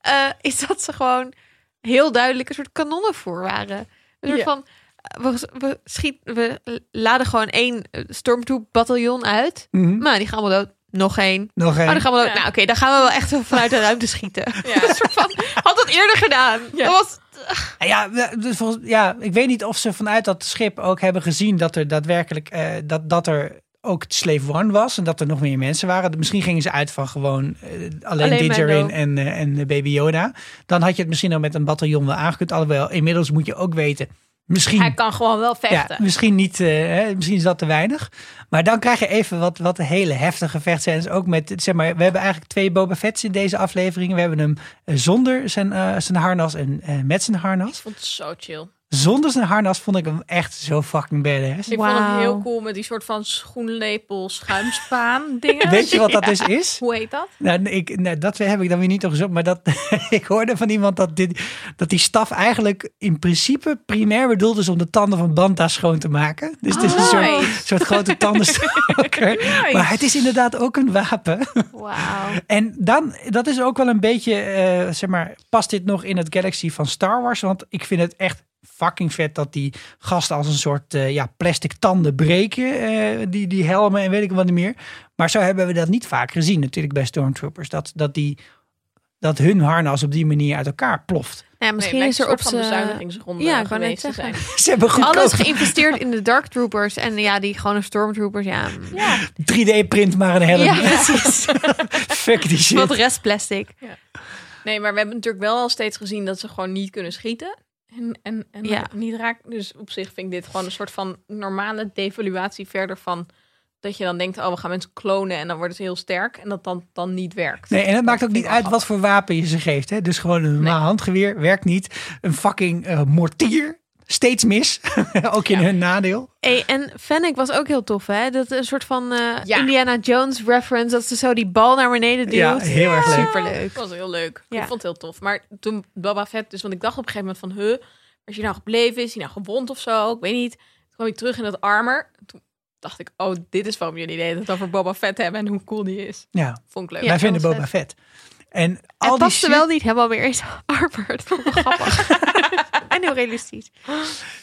S2: Eh, is dat ze gewoon heel duidelijk een soort kanonnenvoer waren. Een soort
S3: Ja.
S2: van, eh, we, we, schiet, we laden gewoon één eh, stormtroop bataljon uit.
S1: Mhm.
S2: Nou, die gaan allemaal dood. Nog één.
S1: Nog
S2: Oh, die
S1: één.
S2: gaan allemaal dood.
S3: Ja.
S2: Nou, oké, dan gaan we wel echt wel vanuit de ruimte schieten.
S3: Ja.
S2: [LAUGHS] Een soort van, had dat eerder gedaan.
S3: Ja.
S2: Dat was,
S1: Ja, dus volgens, ja, ik weet niet of ze vanuit dat schip ook hebben gezien dat er daadwerkelijk eh, dat, dat er ook Slave One was en dat er nog meer mensen waren. Misschien gingen ze uit van gewoon eh, alleen,
S2: Alleen
S1: Didgerin
S2: Mando.
S1: en, eh, en eh, Baby Yoda. Dan had je het misschien al met een bataljon wel aangekund. Alhoewel, inmiddels moet je ook weten, misschien
S3: Hij kan gewoon wel
S1: ja,
S3: vechten.
S1: misschien niet, eh, hè, misschien is dat te weinig. Maar dan krijg je even wat, wat hele heftige vechtscènes. Ook met, zeg maar, we hebben eigenlijk twee Boba Fett's in deze aflevering. We hebben hem eh, zonder zijn, eh, zijn harnas en eh, met zijn harnas.
S3: Ik vond het zo chill.
S1: Zonder zijn harnas vond ik hem echt zo fucking badass.
S3: Ik vond het
S2: Wauw.
S3: heel cool met die soort van schoenlepel schuimspaan
S1: [LAUGHS]
S3: dingen.
S1: Weet je wat dat dus is?
S3: Hoe heet dat?
S1: Nou, ik, nou, dat heb ik dan weer niet opgezocht. Maar dat, [LAUGHS] ik hoorde van iemand dat, dit, dat die staf eigenlijk in principe primair bedoeld is om de tanden van Banta schoon te maken. Dus het is een soort,
S3: Oh, Nice.
S1: soort grote
S3: [LAUGHS]
S1: tandenstoker. Maar het is inderdaad ook een wapen.
S2: wauw.
S1: En dan, dat is ook wel een beetje, eh, zeg maar, past dit nog in het galaxy van Star Wars? Want ik vind het echt fucking vet dat die gasten als een soort eh, ja, plastic tanden breken, eh, die, die helmen en weet ik wat niet meer. Maar zo hebben we dat niet vaak gezien natuurlijk bij Stormtroopers, dat, dat, die, dat hun harnas op die manier uit elkaar ploft. [LAUGHS]
S2: Nou, misschien is er op
S3: van
S2: zijn...
S3: bezuinigingsronde
S2: Ja,
S3: ja,
S2: ik wou net
S3: geweest te
S2: zeggen.
S3: zijn. [LAUGHS]
S1: Ze hebben
S2: Alles
S1: goedkoop
S2: geïnvesteerd in de Dark Troopers. En ja, die gewone Stormtroopers, ja. Ja,
S1: [LAUGHS] 3D-print maar een helm.
S2: [LAUGHS] precies.
S1: Fuck die shit.
S2: Wat restplastic.
S3: Nee, maar we hebben natuurlijk wel al steeds gezien dat ze gewoon niet kunnen schieten. En, en, en
S2: Ja.
S3: niet raken. Dus op zich vind ik dit gewoon een soort van normale devaluatie verder van... Dat je dan denkt, oh, we gaan mensen klonen en dan worden ze heel sterk. En dat dan, dan niet werkt.
S1: Nee, en het maakt ook
S3: vind
S1: niet
S3: ik wel
S1: uit wat voor wapen je ze geeft. Hè? Dus gewoon een normaal handgeweer werkt niet. Een fucking eh, mortier. Steeds mis. [LAUGHS] ook in hun nadeel.
S2: Hey, en Fennec was ook heel tof, hè? Dat is een soort van eh,
S3: Ja.
S2: Indiana Jones reference, dat ze zo die bal naar beneden duwt.
S1: Ja, heel erg leuk.
S2: Superleuk.
S3: Dat was heel leuk.
S2: Ja.
S3: Ik vond het heel tof. Maar toen Boba Fett, dus want ik dacht op een gegeven moment van, huh, is hij nou gebleven? Is hij nou gewond of zo? Ik weet niet. Toen kwam hij terug in dat armor. Toen dacht ik, oh, dit is waarom jullie deden het over Boba Fett hebben en hoe cool die is.
S1: Ja,
S3: Vond ik leuk.
S1: wij
S2: dat
S1: vinden
S2: was
S1: Boba vet. En
S2: Hij
S1: al die
S2: paste
S1: shit,
S2: wel niet helemaal meer in zijn armor.
S1: [LAUGHS]
S2: Dat vond ik wel grappig. en heel realistisch.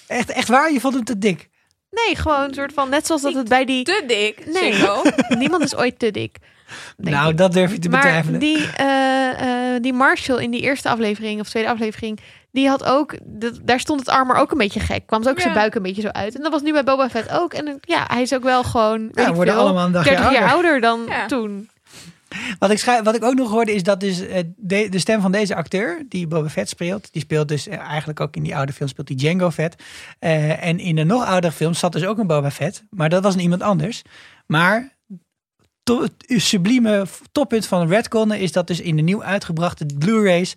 S1: echt, echt waar, je vond hem te dik.
S2: Nee, gewoon een soort van, net zoals dat het bij die...
S3: Te dik,
S2: Nee.
S3: Singo.
S2: Niemand is ooit te dik. denk
S1: nou,
S2: ik.
S1: dat durf je te
S2: Maar
S1: betwijfelen.
S2: die, eh, eh, die Marshall in die eerste aflevering of tweede aflevering, die had ook, dat- daar stond het arm maar ook een beetje gek. Kwam het ook zijn
S3: Ja.
S2: buik een beetje zo uit. En dat was nu bij Boba Fett ook. En eh, ja, hij is ook wel gewoon, weet
S1: Ja,
S2: ik
S1: worden
S2: veel,
S1: allemaal een dagje
S2: 30 jaar
S1: ouder.
S2: ouder dan
S3: Ja.
S2: toen.
S1: Wat ik, schrijf, wat ik ook nog hoorde is dat dus, eh, de, de stem van deze acteur, die Boba Fett speelt, die speelt dus eh, eigenlijk ook in die oude film, speelt die Django Fett. Eh, en in de nog oudere film zat dus ook een Boba Fett, maar dat was een iemand anders. Maar to- het sublieme f- toppunt van Redconnen is dat dus in de nieuw uitgebrachte Blu-rays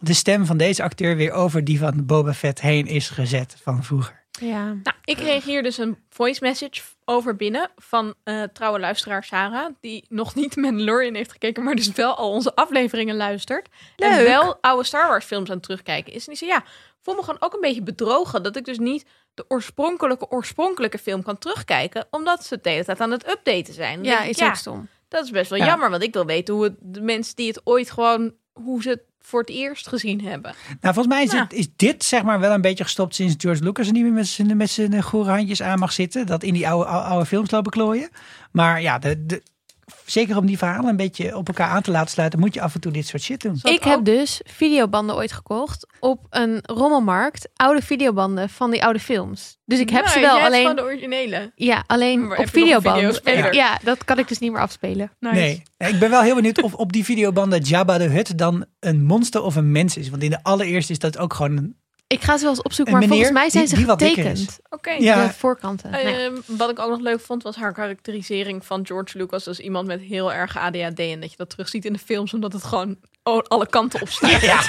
S1: de stem van deze acteur weer over die van Boba Fett heen is gezet van vroeger.
S2: Ja.
S3: Nou, ik kreeg hier dus een voice message over binnen van eh, trouwe luisteraar Sarah, die nog [LAUGHS] niet Mandalorian heeft gekeken, maar dus wel al onze afleveringen luistert. En
S2: Leuk.
S3: wel oude Star Wars films aan het terugkijken is. En die zei, ja, ik voel me gewoon ook een beetje bedrogen dat ik dus niet de oorspronkelijke, oorspronkelijke film kan terugkijken, omdat ze de hele tijd aan het updaten zijn. Dan
S2: Ja,
S3: denk ik,
S2: is ook stom.
S3: dat is best wel
S1: Ja.
S3: jammer, want ik wil weten hoe het, de mensen die het ooit gewoon, hoe ze het voor het eerst gezien hebben.
S1: Nou, volgens mij is,
S3: Ja.
S1: het- is dit zeg maar wel een beetje gestopt sinds George Lucas er niet meer met zijn, met zijn goede handjes aan mag zitten. Dat in die oude, oude, oude films lopen klooien. Maar ja, de, de, zeker om die verhalen een beetje op elkaar aan te laten sluiten, moet je af en toe dit soort shit doen.
S2: Ik heb dus videobanden ooit gekocht op een rommelmarkt. Oude videobanden van die oude films. Dus ik heb ze
S3: Nee,
S2: wel,
S3: Nou, jij hebt
S2: alleen...
S3: gewoon de originele.
S2: Ja, alleen
S3: Maar
S2: op
S3: heb je nog een
S2: videoband.
S3: videospeler?
S2: Ja, dat kan ik dus niet meer afspelen.
S1: Nee, ik ben wel heel benieuwd of op die videobanden Jabba de Hutt dan een monster of een mens is. Want in de allereerste is dat ook gewoon een...
S2: Ik ga ze wel eens opzoeken,
S1: Een
S2: maar volgens
S1: meneer
S2: mij zijn
S1: die-
S2: ze
S1: die wat dikker
S2: getekend.
S3: Oké.
S1: Ja.
S2: De voorkanten. Nou ja.
S3: Ehm, wat ik ook nog leuk vond was haar karakterisering van George Lucas als iemand met heel erg ADHD en dat je dat terugziet in de films omdat het gewoon o- alle kanten op staat. Ja, [LAUGHS]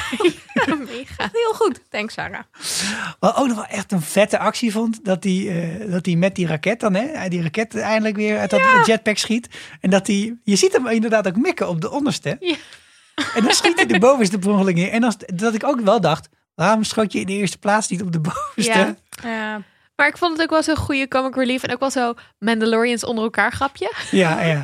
S3: mega. Heel goed. Thanks Sarah.
S1: Wat ook nog wel echt een vette actie vond, dat hij eh, dat hij met die raket dan, hè, die raket eindelijk weer uit dat jetpack schiet. En dat hij, je ziet hem inderdaad ook mikken op de onderste.
S2: Ja.
S1: En dan schiet hij de bovenste per ongeluk in. En als, dat ik ook wel dacht, waarom schoot je in de eerste plaats niet op de bovenste?
S2: Ja.
S3: Ja.
S2: Maar ik vond het ook wel zo'n goede comic relief. En ook wel zo Mandalorians onder elkaar grapje. [LAUGHS]
S1: Ja, ja.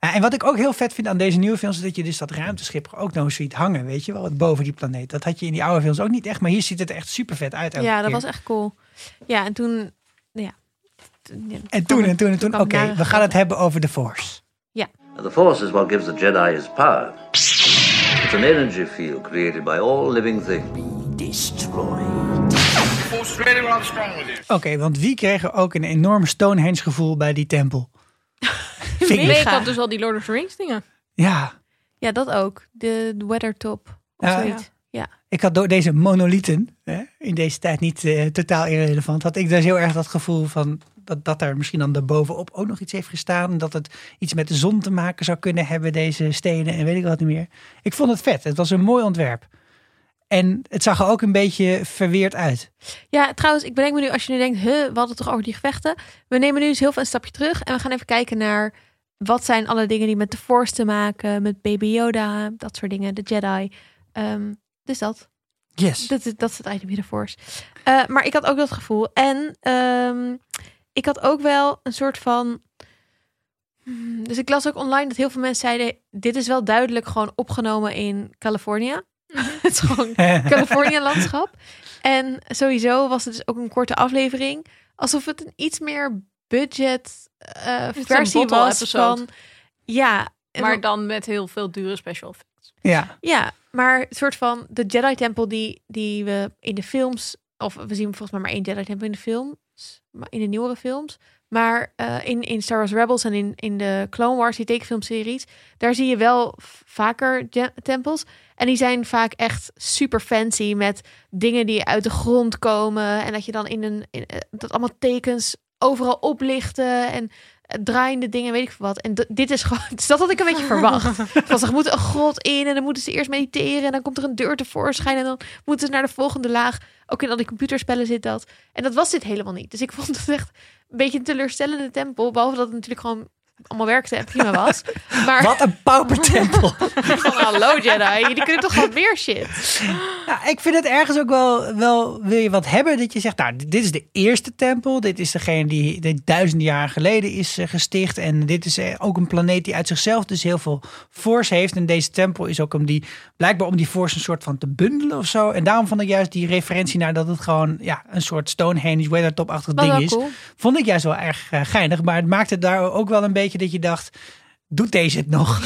S1: Ja, En wat ik ook heel vet vind aan deze nieuwe films, is dat je dus dat ruimteschip ook nog eens ziet hangen, weet je wel, wat boven die planeet. Dat had je in die oude films ook niet echt, maar hier ziet het er echt super vet uit. elke
S2: ja, dat
S1: keer.
S2: was echt cool. Ja, en toen... Ja. Toen- ja,
S1: En toen en toen en toen,
S2: kwam
S1: oké,
S2: het nare
S1: we gaan het hebben over de Force.
S10: The Force is what gives the Jedi his power. It's an energy field created by all living things. Be destroyed.
S1: Oké, want wie kregen ook een enorm Stonehenge gevoel bij die
S2: [LAUGHS]
S1: tempel? Vind ik.
S3: Nee, ik
S2: Mega.
S3: had dus al die Lord of the Rings dingen.
S1: Ja,
S2: Ja, dat ook. De, de weathertop. Of
S1: Ja.
S2: zoiets. Ja.
S1: ik had door deze monolithen, hè, in deze tijd niet eh, totaal irrelevant, had ik dus heel erg dat gevoel van dat, dat er misschien dan daarbovenop ook nog iets heeft gestaan. en Dat het iets met de zon te maken zou kunnen hebben, deze stenen en weet ik wat niet meer. Ik vond het vet. Het was een mooi ontwerp. En het zag er ook een beetje verweerd uit.
S2: Ja, trouwens, ik bedenk me nu, als je nu denkt, huh, we hadden het toch over die gevechten. We nemen nu eens heel veel een stapje terug en we gaan even kijken naar wat zijn alle dingen die met de Force te maken, met Baby Yoda, dat soort dingen, de Jedi. Ehm, dus dat.
S1: Yes.
S2: Dat, is- dat is het item hier de Force. Eh, maar ik had ook dat gevoel. En ehm, ik had ook wel een soort van. Hmm, Dus ik las ook online dat heel veel mensen zeiden: Dit is wel duidelijk gewoon opgenomen in Californië.
S3: Mhm.
S2: [LAUGHS] het is gewoon
S1: Eh,
S2: Californië landschap. En sowieso was het dus ook een korte aflevering. Alsof het een iets meer budget eh,
S3: een
S2: versie
S3: bottle
S2: was
S3: episode.
S2: van. Ja, en
S3: Maar dan met heel veel dure special effects.
S1: [LAUGHS] Ja,
S2: ja, maar het soort van de Jedi-tempel die, die we in de films, of we zien volgens mij maar één Jedi-tempel in de films, maar in de nieuwere films. Maar eh, in, in Star Wars Rebels en in, in de Clone Wars, die tekenfilmseries, daar zie je wel v- vaker je- tempels. En die zijn vaak echt super fancy met dingen die uit de grond komen. En dat je dan in een, in, eh, dat allemaal tekens overal oplichten en eh, draaiende dingen, weet ik veel wat. En d- dit is gewoon, [LAUGHS] dus dat had ik een beetje
S1: [LAUGHS]
S2: verwacht. Van ze moeten een grot in en dan moeten ze eerst mediteren. En dan komt er een deur tevoorschijn. En dan moeten ze naar de volgende laag. Ook in al die computerspellen zit dat. En dat was dit helemaal niet. Dus ik vond het echt een beetje een teleurstellende tempel. Behalve dat het natuurlijk gewoon allemaal werkte en prima
S1: [LAUGHS]
S2: was. Maar
S1: Wat
S2: [LAUGHS]
S1: een paupertempel.
S2: van hallo Jedi, jullie kunnen toch wat meer shit?
S1: Ja, ik vind het ergens ook wel, wel, wil je wat hebben dat je zegt, nou, dit is de eerste tempel. Dit is degene die, die duizenden jaren geleden is eh, gesticht. En dit is eh, ook een planeet die uit zichzelf dus heel veel force heeft. En deze tempel is ook om die, blijkbaar om die force een soort van te bundelen of zo. En daarom vond ik juist die referentie naar dat het gewoon ja, een soort Stonehenge weathertop-achtig
S2: Dat
S1: ding
S2: wel
S1: is. [LAUGHS]
S2: cool.
S1: Vond ik juist wel erg eh, geinig. Maar het maakte daar ook wel een beetje dat je dacht, doet deze het nog?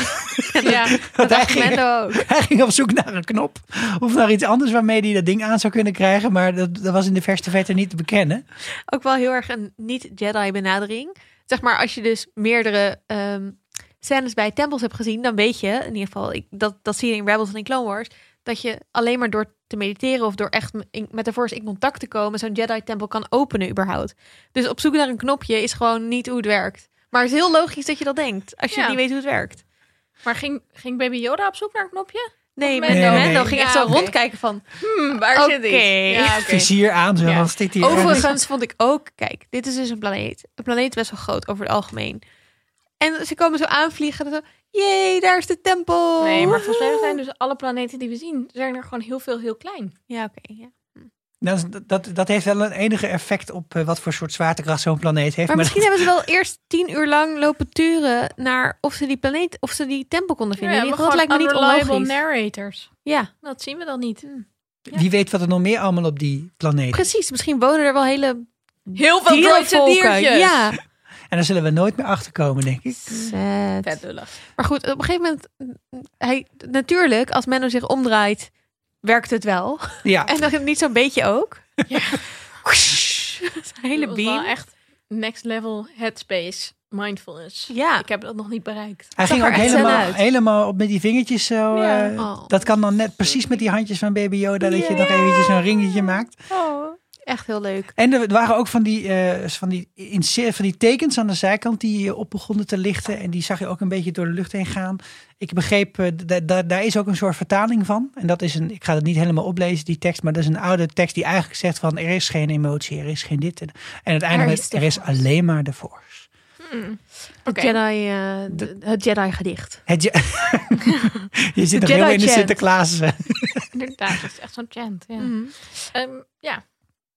S2: Ja, dat
S1: hij
S2: dacht
S1: ging-
S2: Mendo ook.
S1: Hij ging op zoek naar een knop of naar iets anders waarmee hij dat ding aan zou kunnen krijgen. Maar dat, dat was in de verste verte niet te bekennen.
S2: Ook wel heel erg een niet-Jedi benadering. Zeg maar, als je dus meerdere ehm scènes bij tempels hebt gezien, dan weet je, in ieder geval, ik, dat, dat zie je in Rebels en in Clone Wars, dat je alleen maar door te mediteren of door echt m- in- met de Force in contact te komen, zo'n Jedi-tempel kan openen überhaupt. Dus op zoek naar een knopje is gewoon niet hoe het werkt. Maar het is heel logisch dat je dat denkt, als je
S3: Ja.
S2: niet weet hoe het werkt.
S3: [LAUGHS] Maar ging, ging Baby Yoda op zoek naar een knopje?
S2: Nee,
S3: Mendo.
S2: Mendo,
S1: Nee, nee.
S2: Mendo ging echt
S3: Ja,
S2: zo
S3: oké.
S2: rondkijken van, Hm,
S3: Hmm, waar zit
S2: Oké.
S3: die? Ja, oké.
S1: Vizier aan, zo
S3: Ja.
S1: als dit hier.
S2: Overigens vond ik ook, kijk, dit is dus een planeet. Een planeet best wel groot over het algemeen. En ze komen zo aanvliegen en zo, jee, daar is de tempel.
S3: Nee, maar volgens mij zijn dus alle planeten die we zien, zijn er gewoon heel veel heel klein.
S2: Ja, oké. ja.
S1: Dat, is- Nou, dat, dat heeft wel een enige effect op eh, wat voor soort zwaartekracht zo'n planeet heeft.
S2: Maar
S1: Maar
S2: misschien hebben ze wel eerst tien uur lang lopen turen naar of ze die planeet, of ze die tempel konden vinden.
S3: Ja,
S2: In
S3: we
S2: ieder geval, dat lijkt me
S3: gewoon
S2: niet
S3: unreliable
S2: onlogisch. Hm.
S3: narrators.
S2: ja,
S3: Dat zien we dan niet.
S1: dat- [LAUGHS] wie weet wat er nog meer allemaal op die planeet. is.
S2: precies. Misschien wonen er wel hele
S3: Heel veel droids en
S2: dierenvolken.
S3: diertjes.
S2: Ja.
S1: En daar zullen we nooit meer achter komen, denk ik.
S2: Zet.
S3: Vet lullig.
S2: Maar goed, op een gegeven moment, mm, hij, natuurlijk, als Menno zich omdraait, werkt het wel.
S1: Ja,
S2: En dan niet zo'n beetje ook.
S3: Ja.
S2: [LAUGHS] Whoosh. Een hele
S3: Dat was wel
S2: beam.
S3: echt next level headspace mindfulness.
S2: Ja.
S3: Ik heb dat nog niet bereikt.
S1: hij
S2: zag
S1: ging
S2: er
S1: ook
S2: echt zen
S1: helemaal,
S2: uit.
S1: helemaal op met die vingertjes zo.
S3: Ja.
S1: eh,
S2: Oh.
S1: Dat kan dan net precies met die handjes van Baby Yoda, dat je nog eventjes zo'n ringetje maakt.
S2: oh. Echt heel leuk.
S1: En er waren ook van die, eh, van, die in, van die tekens aan de zijkant die eh, op begonnen te lichten. En die zag je ook een beetje door de lucht heen gaan. Ik begreep, eh, da- da- daar is ook een soort vertaling van. En dat is een, ik ga het niet helemaal oplezen, die tekst. Maar dat is een oude tekst die eigenlijk zegt van er is geen emotie, er is geen dit. En, en uiteindelijk
S2: Er is
S1: met,
S2: de
S1: er is alleen maar de force.
S3: Oké.
S2: Jedi, eh, d- het Jedi gedicht.
S1: Het je, [LAUGHS] je zit nog
S2: Jedi
S1: heel in de
S2: chant.
S1: Sinterklaas. eh.
S3: Inderdaad, dat is echt zo'n chant. Ja.
S2: Mm.
S3: Ehm, ja,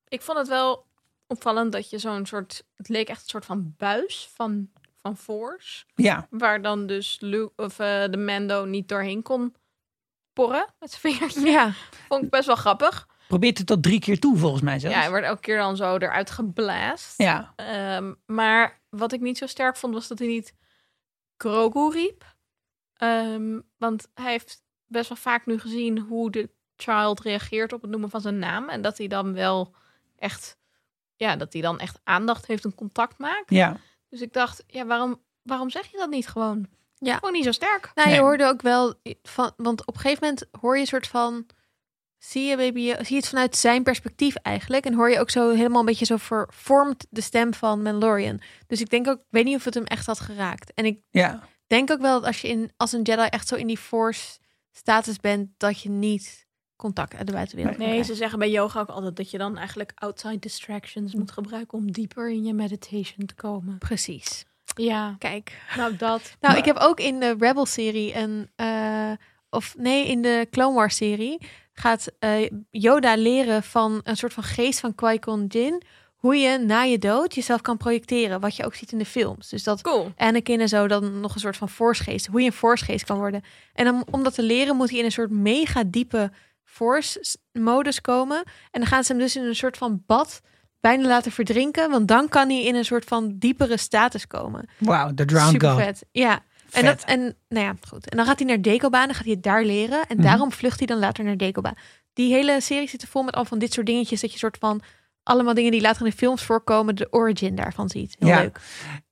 S3: ik vond het wel opvallend dat je zo'n soort... Het leek echt een soort van buis van, van Force.
S1: Ja,
S3: Waar dan dus Luke, of, eh, de Mando niet doorheen kon porren met zijn vingertje.
S2: Ja.
S3: Vond ik best wel grappig.
S1: probeert het tot drie keer toe volgens mij zelfs.
S3: Ja, hij werd elke keer dan zo eruit geblaast.
S1: ja.
S3: Ehm, maar wat ik niet zo sterk vond, was dat hij niet Grogu riep. Ehm, want hij heeft best wel vaak nu gezien hoe de child reageert op het noemen van zijn naam. En dat hij dan wel echt, ja, dat hij dan echt aandacht heeft en contact maakt.
S1: ja.
S3: Dus ik dacht, ja, waarom, waarom zeg je dat niet gewoon?
S2: Ja.
S3: Gewoon niet zo sterk.
S2: Nou, je
S1: Nee.
S2: hoorde ook wel van, want op een gegeven moment hoor je een soort van, zie je baby, Yoda- zie je het vanuit zijn perspectief eigenlijk, en hoor je ook zo helemaal een beetje zo vervormd de stem van Mandalorian. Dus ik denk ook, ik weet niet of het hem echt had geraakt. En ik
S1: ja.
S2: denk ook wel dat als je in, als een Jedi echt zo in die Force status bent, dat je niet contact uit de buitenwereld
S3: Nee,
S2: krijgt.
S3: ze zeggen bij yoga ook altijd dat je dan eigenlijk outside distractions moet gebruiken om dieper in je meditation te komen.
S2: Precies.
S3: Ja,
S2: Kijk.
S3: nou dat.
S2: Nou, ik heb ook in de Rebel-serie een... eh, of nee, in de Clone Wars-serie gaat eh, Yoda leren van een soort van geest van Qui-Gon Jinn... hoe je na je dood jezelf kan projecteren. Wat je ook ziet in de films. Dus dat
S3: Cool.
S2: Anakin en zo dan nog een soort van forcegeest. Hoe je een forcegeest kan worden. En om, om dat te leren moet hij in een soort mega diepe force-modus komen. En dan gaan ze hem dus in een soort van bad bijna laten verdrinken. Want dan kan hij in een soort van diepere status komen.
S1: Wauw, de drowned
S2: Super
S1: god.
S2: vet. Ja. En, dat, en, nou ja, goed. en dan gaat hij naar Dagobah en dan gaat hij het daar leren. En daarom vlucht hij dan later naar Dagobah. Die hele serie zit er vol met al van dit soort dingetjes. Dat je soort van allemaal dingen die later in de films voorkomen, de origin daarvan ziet. Heel
S1: Ja.
S2: leuk.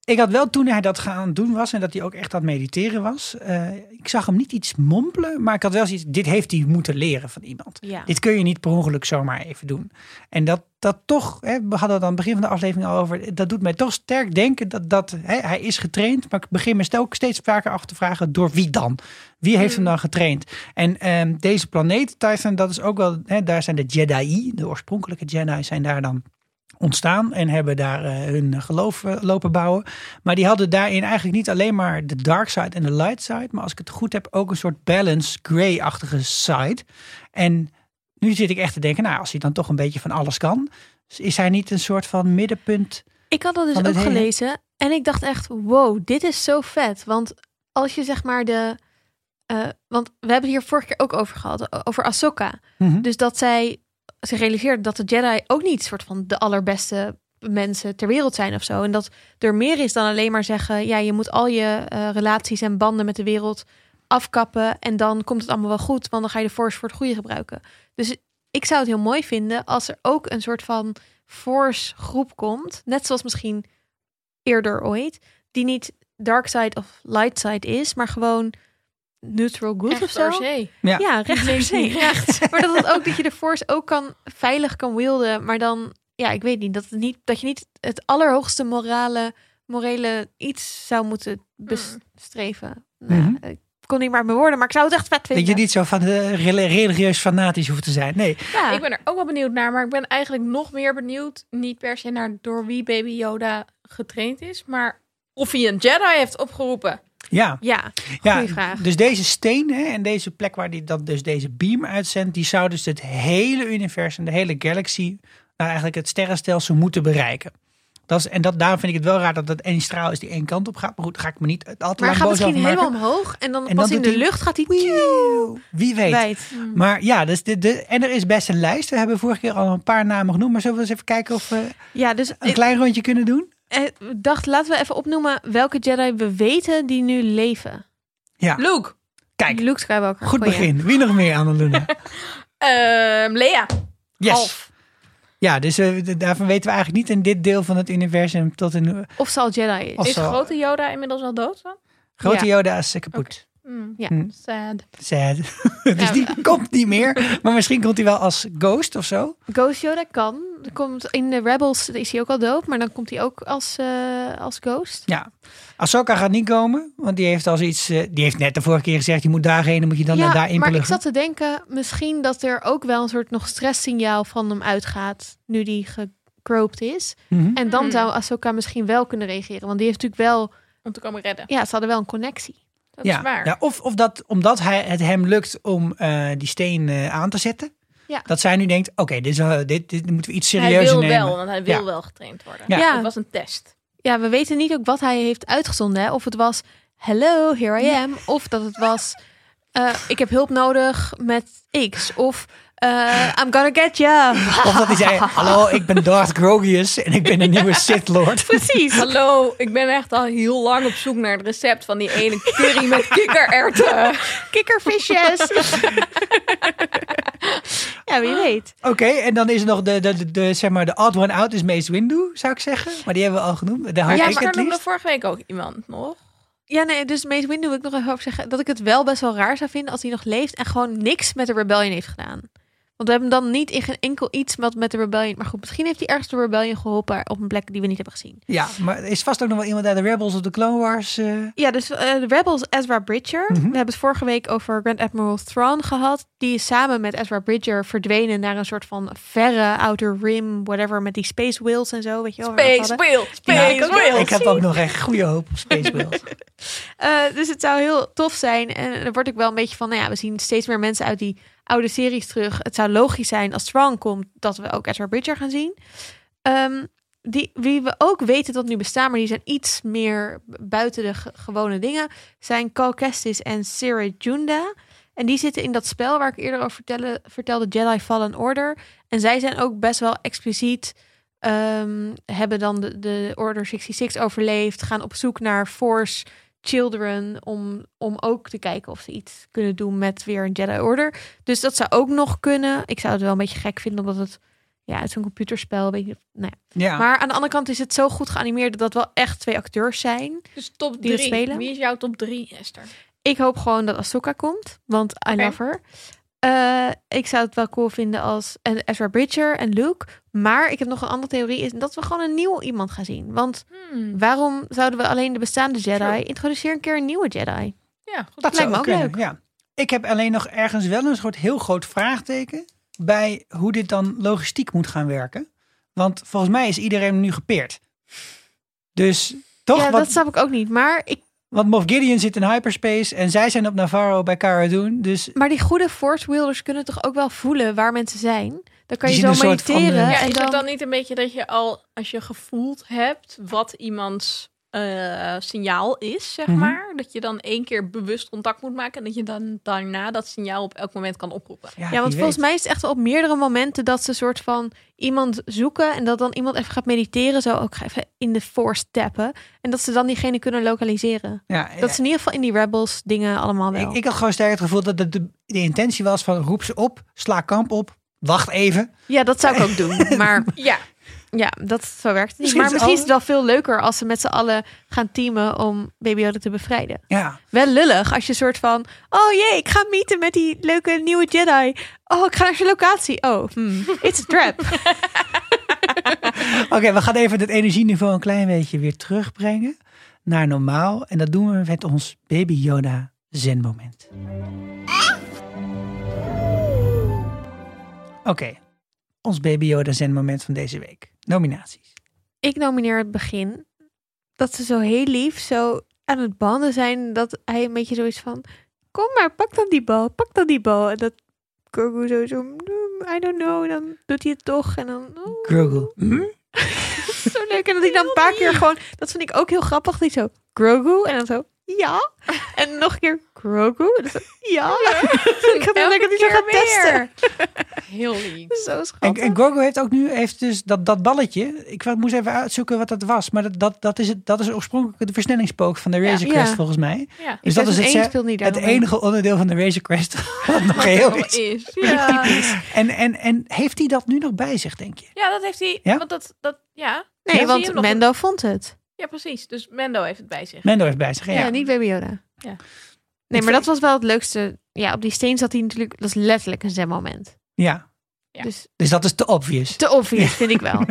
S1: Ik had wel toen hij dat gaan doen was en dat hij ook echt aan het mediteren was. eh, ik zag hem niet iets mompelen, maar ik had wel zoiets. Dit heeft hij moeten leren van iemand.
S2: Ja.
S1: Dit kun je niet per ongeluk zomaar even doen. En dat, dat toch, hè, we hadden het aan het begin van de aflevering al over. Dat doet mij toch sterk denken dat, dat hè, hij is getraind. Maar ik begin me ook steeds vaker af te vragen: door wie dan? Wie heeft hem dan getraind? En ehm, deze planeet, Titan, dat is ook wel. Hè, daar zijn de Jedi, de oorspronkelijke Jedi, zijn daar dan ontstaan en hebben daar eh, hun geloof eh, lopen bouwen. Maar die hadden daarin eigenlijk niet alleen maar de dark side en de light side, maar als ik het goed heb ook een soort balance grey-achtige side. En nu zit ik echt te denken, nou als hij dan toch een beetje van alles kan, is hij niet een soort van middenpunt?
S2: Ik had dat dus
S1: Van
S2: ook
S1: het hele-
S2: gelezen. En ik dacht echt, wow, dit is zo vet. Want als je zeg maar de... eh, want we hebben het hier vorige keer ook over gehad. o- Over Ahsoka.
S1: Mhm.
S2: Dus dat zij zich realiseerde dat de Jedi ook niet soort van de allerbeste mensen ter wereld zijn of zo. En dat er meer is dan alleen maar zeggen, ja, je moet al je eh, relaties en banden met de wereld afkappen en dan komt het allemaal wel goed, want dan ga je de force voor het goede gebruiken. Dus ik zou het heel mooi vinden als er ook een soort van force groep komt, net zoals misschien eerder ooit, die niet dark side of light side is, maar gewoon neutral good of zo.
S1: Ja.
S2: Ja, recht per se. Recht. [LAUGHS] maar dat het ook dat je de force ook kan veilig kan wielden, maar dan ja, ik weet niet dat het niet dat je niet het allerhoogste morale morele iets zou moeten bestreven. Nou,
S1: Mhm.
S2: Ik kon niet maar mijn woorden, maar ik zou het echt vet vinden.
S1: Dat je niet zo van eh, rel- religieus fanatisch hoeft te zijn. Nee,
S2: Ja.
S3: Ik ben er ook wel benieuwd naar, maar ik ben eigenlijk nog meer benieuwd. Niet per se naar door wie Baby Yoda getraind is, maar of hij een Jedi heeft opgeroepen.
S1: ja.
S2: Ja,
S1: ja
S2: goeie vraag.
S1: Dus deze steen hè, en deze plek waar die dat dus deze beam uitzendt, die zou dus het hele universum, de hele galaxy, nou eigenlijk het sterrenstelsel moeten bereiken. Dat is, en dat, daarom vind ik het wel raar dat dat één straal is die één kant op gaat. Maar goed, daar ga ik me niet al te
S2: Maar hij
S1: lang
S2: gaat
S1: boos
S2: misschien
S1: over
S2: helemaal
S1: maken.
S2: omhoog en dan
S1: En
S2: pas
S1: dan
S2: in de
S1: doet hij-
S2: lucht gaat hij
S1: Wieuw. Wie weet.
S2: wijd.
S1: Maar ja, dus de, de, en er is best een lijst. We hebben vorige keer al een paar namen genoemd. Maar zullen we eens even kijken of we
S2: Ja, dus
S1: een
S2: ik
S1: klein rondje kunnen doen?
S2: eh, dacht, laten we even opnoemen welke Jedi we weten die nu leven.
S1: Ja,
S3: Luke,
S1: kijk.
S2: Luke Skywalker.
S1: Goed
S2: goeie.
S1: begin. Wie nog meer, Annalena?
S3: Ehm Lea,
S1: Yes.
S3: Alf.
S1: Ja, dus eh, d- daarvan weten we eigenlijk niet in dit deel van het universum tot een
S2: Of ze al Jedi is.
S1: Als-
S3: Is
S1: Zo.
S3: grote Yoda inmiddels al dood dan?
S1: grote
S2: Ja.
S1: Yoda als ze kapot.
S3: Hmm.
S2: Ja.
S1: Hmm.
S3: Sad.
S1: Sad. [LAUGHS] dus die komt niet meer. Maar misschien komt hij wel als ghost of zo.
S2: Ghost Yoda kan. Er komt in de Rebels is hij ook al dood, maar dan komt hij ook als, eh, als ghost.
S1: Ja. Ahsoka gaat niet komen, want die heeft als iets... eh, die heeft net de vorige keer gezegd, je moet daarheen, dan moet je dan naar daar
S2: maar ik
S1: inpluggen.
S2: zat te denken, misschien dat er ook wel een soort nog stresssignaal van hem uitgaat nu die gekropt is.
S1: Mhm.
S2: En dan
S3: Hmm.
S2: zou Ahsoka misschien wel kunnen reageren, want die heeft natuurlijk wel,
S3: Om te komen redden.
S2: ja, ze hadden wel een connectie.
S3: Dat
S1: ja.
S3: is waar.
S1: Ja, of of dat, omdat hij, het hem lukt om eh, die steen eh, aan te zetten.
S2: Ja.
S1: Dat zij nu denkt, oké, dit, is, eh, dit, dit moeten we iets
S3: Hij
S1: serieuzer
S3: wil
S1: nemen.
S3: wel, want hij wil
S1: Ja.
S3: wel getraind worden.
S1: Ja.
S2: Ja.
S3: Het was een test.
S2: Ja, we weten niet ook wat hij heeft uitgezonden, hè? of het was hello, here I am, of dat het was eh, ik heb hulp nodig met X, of eh, I'm gonna get [LAUGHS] you.
S1: Of dat hij zei, hallo, ik ben Darth Grogius en ik ben een nieuwe Sith Lord.
S2: Precies.
S3: Hallo, ik ben echt al heel lang op zoek naar het recept van die ene curry met kikkererwten.
S2: Kikkervisjes. [LAUGHS] ja, wie weet.
S1: Oké, en dan is er nog de, de, de, de, zeg maar, de odd one out is Mace Windu, zou ik zeggen. Maar die hebben we al genoemd. Daar hou
S3: Ja,
S1: ik
S3: maar
S1: het
S3: noemde
S1: liefst.
S3: vorige week ook iemand nog.
S2: Ja, nee, dus Mace Windu wil ik nog even over zeggen dat ik het wel best wel raar zou vinden als hij nog leeft en gewoon niks met de Rebellion heeft gedaan. Want we hebben hem dan niet in geen enkel iets wat met de Rebellion. Maar goed, misschien heeft hij ergens de Rebellion geholpen op een plek die we niet hebben gezien.
S1: Ja, maar er is vast ook nog wel iemand uit de Rebels of de Clone Wars. eh.
S2: Ja, dus eh, de Rebels Ezra Bridger. We hebben het vorige week over Grand Admiral Thrawn gehad. Die is samen met Ezra Bridger verdwenen naar een soort van verre Outer Rim, whatever, met die Space Whales en zo. Weet je wel, waar we het
S3: Space
S2: hadden.
S3: Wheel,
S1: Ja,
S3: Space
S1: ik,
S3: Whale.
S1: ik heb ook nog echt goede hoop op Space Whales.
S2: Eh, dus het zou heel tof zijn. En dan word ik wel een beetje van, nou ja, we zien steeds meer mensen uit die oude series terug. Het zou logisch zijn als Strong komt dat we ook Ezra Bridger gaan zien. Ehm, die, wie we ook weten dat nu bestaan, maar die zijn iets meer buiten de ge- gewone dingen, zijn Cal Kestis en Sarah Junda. En die zitten in dat spel waar ik eerder over vertelde, vertelde Jedi Fallen Order. En zij zijn ook best wel expliciet ehm, hebben dan de, de Order 66 overleefd, gaan op zoek naar Force Children om, om ook te kijken of ze iets kunnen doen met weer een Jedi Order. Dus dat zou ook nog kunnen. Ik zou het wel een beetje gek vinden omdat het ja, het is een computerspel. Weet je, nou ja.
S1: Ja.
S2: Maar aan de andere kant is het zo goed geanimeerd dat dat wel echt twee acteurs zijn.
S3: Dus top
S2: Die het
S3: 3.
S2: spelen?
S3: Wie is jouw top 3, Esther?
S2: Ik hoop gewoon dat Ahsoka komt, want I
S3: Oké.
S2: love her. Eh, ik zou het wel cool vinden als en Ezra Bridger en Luke. Maar ik heb nog een andere theorie, is dat we gewoon een nieuw iemand gaan zien. Want waarom zouden we alleen de bestaande Jedi?
S3: Hmm. True.
S2: Introduceer een keer een nieuwe Jedi.
S3: Ja, goed.
S1: dat
S2: lijkt
S1: zou
S2: me
S1: ook
S2: ook
S1: kunnen, ja. Ik heb alleen nog ergens wel een soort heel groot vraagteken bij hoe dit dan logistiek moet gaan werken. Want volgens mij is iedereen nu gepeerd. Dus toch?
S2: ja,
S1: wat,
S2: dat snap ik ook niet. Maar, ik,
S1: Want Moff Gideon zit in hyperspace en zij zijn op Navarro bij Cara Dune. Dus
S2: maar die goede Force Wielders kunnen toch ook wel voelen waar mensen zijn? Dan kan
S1: Die
S2: je
S1: zien
S2: zo
S1: een soort van,
S2: mediteren.
S1: eh,
S3: Ja,
S2: en
S3: is
S2: dan,
S3: het dan niet een beetje dat je al, als je gevoeld hebt wat iemands eh, signaal is, zeg
S1: Mhm.
S3: maar, dat je dan één keer bewust contact moet maken en dat je dan daarna dat signaal op elk moment kan oproepen.
S1: ja,
S2: ja, want
S1: wie
S2: volgens
S1: weet.
S2: mij is het echt wel op meerdere momenten dat ze een soort van iemand zoeken en dat dan iemand even gaat mediteren. Zo ook even in de force tappen. En dat ze dan diegene kunnen lokaliseren.
S1: Ja,
S2: Dat ze in ieder geval in die rebels dingen allemaal wel.
S1: ik, ik had gewoon sterk het gevoel dat het de, de intentie was van roep ze op, sla kamp op, wacht even.
S2: Ja, dat zou ik ook
S1: [LAUGHS]
S2: doen. Maar
S3: Ja,
S2: ja, dat zo werkt het niet.
S1: Misschien
S2: Maar
S1: is
S2: misschien is
S1: alles-
S2: het wel veel leuker als ze met z'n allen gaan teamen om Baby Yoda te bevrijden.
S1: Ja,
S2: Wel lullig als je soort van, oh jee, ik ga meeten met die leuke nieuwe Jedi. Oh, ik ga naar zijn locatie. Oh, hmm, it's a trap.
S1: Oké, we gaan even het energieniveau een klein beetje weer terugbrengen naar normaal. En dat doen we met ons Baby Yoda zen moment. Oké, ons Baby Yoda zen moment van deze week. Nominaties.
S2: [LAUGHS] ik nomineer het begin. Dat ze zo heel lief zo aan het banden zijn. Dat hij een beetje zoiets van... Kom maar, pak dan die bal. Pak dan die bal. En dat Grogu zo, zo... "Mm, I don't know. Dan doet hij het toch. En dan... oh,
S1: Grogu.
S2: zo leuk. En dat hij dan een paar keer gewoon... Dat vind ik ook heel grappig. Dat hij zo... Grogu. En dan zo... Ja. En nog een keer... Grogu. En dan zo... Ja. ik had heel
S3: Elke
S2: lekker dat hij zo
S3: keer
S2: gaat testen.
S3: [LAUGHS] heel lief.
S2: [LAUGHS] Zo
S1: En,
S2: schattig.
S1: en Grogu heeft ook nu heeft dus dat, dat balletje. Ik wa- moest even uitzoeken wat dat was. Maar dat, dat, dat is het, dat is oorspronkelijk de versnellingspook van de Razor
S2: Ja.
S1: Crest
S2: Ja.
S1: volgens mij.
S3: Ja.
S1: Dus dat is het,
S2: Seizoen
S1: ze-
S2: één speelt niet
S1: het
S2: daaromheen.
S1: enige onderdeel van de Razor Crest
S2: [LAUGHS]
S1: wat nog geheel
S3: Allemaal
S1: is.
S3: is.
S2: Ja.
S1: En, en, en heeft hij dat nu nog bij zich, denk je?
S3: Ja, dat heeft hij.
S1: Ja?
S3: Want dat, dat, ja.
S2: Nee,
S3: Ja, zie je hem
S2: want
S3: nog
S2: Mendo vond het.
S3: ja, precies. Dus Mendo heeft het bij zich.
S1: Mendo heeft bij zich, ja.
S2: Ja, niet Baby Yoda.
S3: Ja.
S2: Nee, maar dat was wel het leukste. Ja, op die steen zat hij natuurlijk... Dat is letterlijk een zenmoment.
S1: Ja,
S3: Ja.
S2: Dus
S1: dus dat is te obvious.
S2: te obvious vind ik
S1: [LAUGHS]
S2: wel.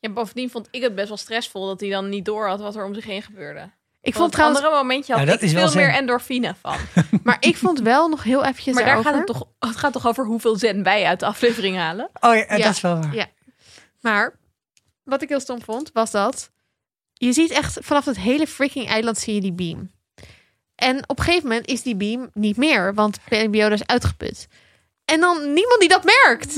S3: Ja, bovendien vond ik het best wel stressvol dat hij dan niet door had wat er om zich heen gebeurde.
S2: Ik
S3: Want
S2: vond trouwens...
S3: andere momentje had
S1: Ja, dat
S3: ik
S1: is wel
S3: veel meer
S1: zen.
S3: endorfine [LAUGHS] van.
S2: Maar ik vond wel nog heel eventjes
S3: Maar daar
S2: erover.
S3: gaat het toch, het gaat toch over hoeveel zen wij uit de aflevering halen.
S1: Oh ja, eh,
S2: Ja.
S1: dat is wel waar.
S2: Ja. Maar wat ik heel stom vond, was dat... Je ziet echt vanaf het hele freaking eiland zie je die beam. En op een gegeven moment is die beam niet meer. Want Baby Yoda is uitgeput. En dan niemand die dat merkt.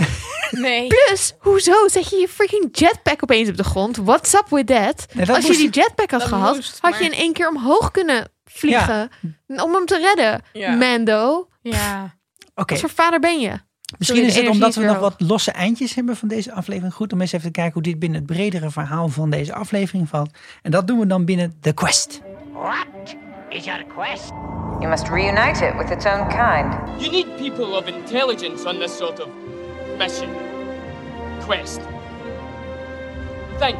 S3: Nee.
S2: Plus, hoezo zet je je freaking jetpack opeens op de grond? What's up with that?
S1: Nee, dat
S2: Als je
S1: moest-
S2: die jetpack had
S3: dat
S2: gehad,
S3: moest,
S2: had
S3: maar-
S2: je in één keer omhoog kunnen vliegen om hem te redden.
S3: Ja.
S2: Mando,
S3: Ja.
S1: Oké,
S2: wat voor vader ben je?
S1: misschien
S2: de
S1: is het
S2: energie
S1: omdat
S2: is
S1: we
S2: weer
S1: nog
S2: hoog.
S1: wat losse eindjes hebben van deze aflevering. Goed om eens even te kijken hoe dit binnen het bredere verhaal van deze aflevering valt. En dat doen we dan binnen The Quest.
S4: You must reunite it with its own kind.
S11: You need people of intelligence on this sort of mission. Quest. Thank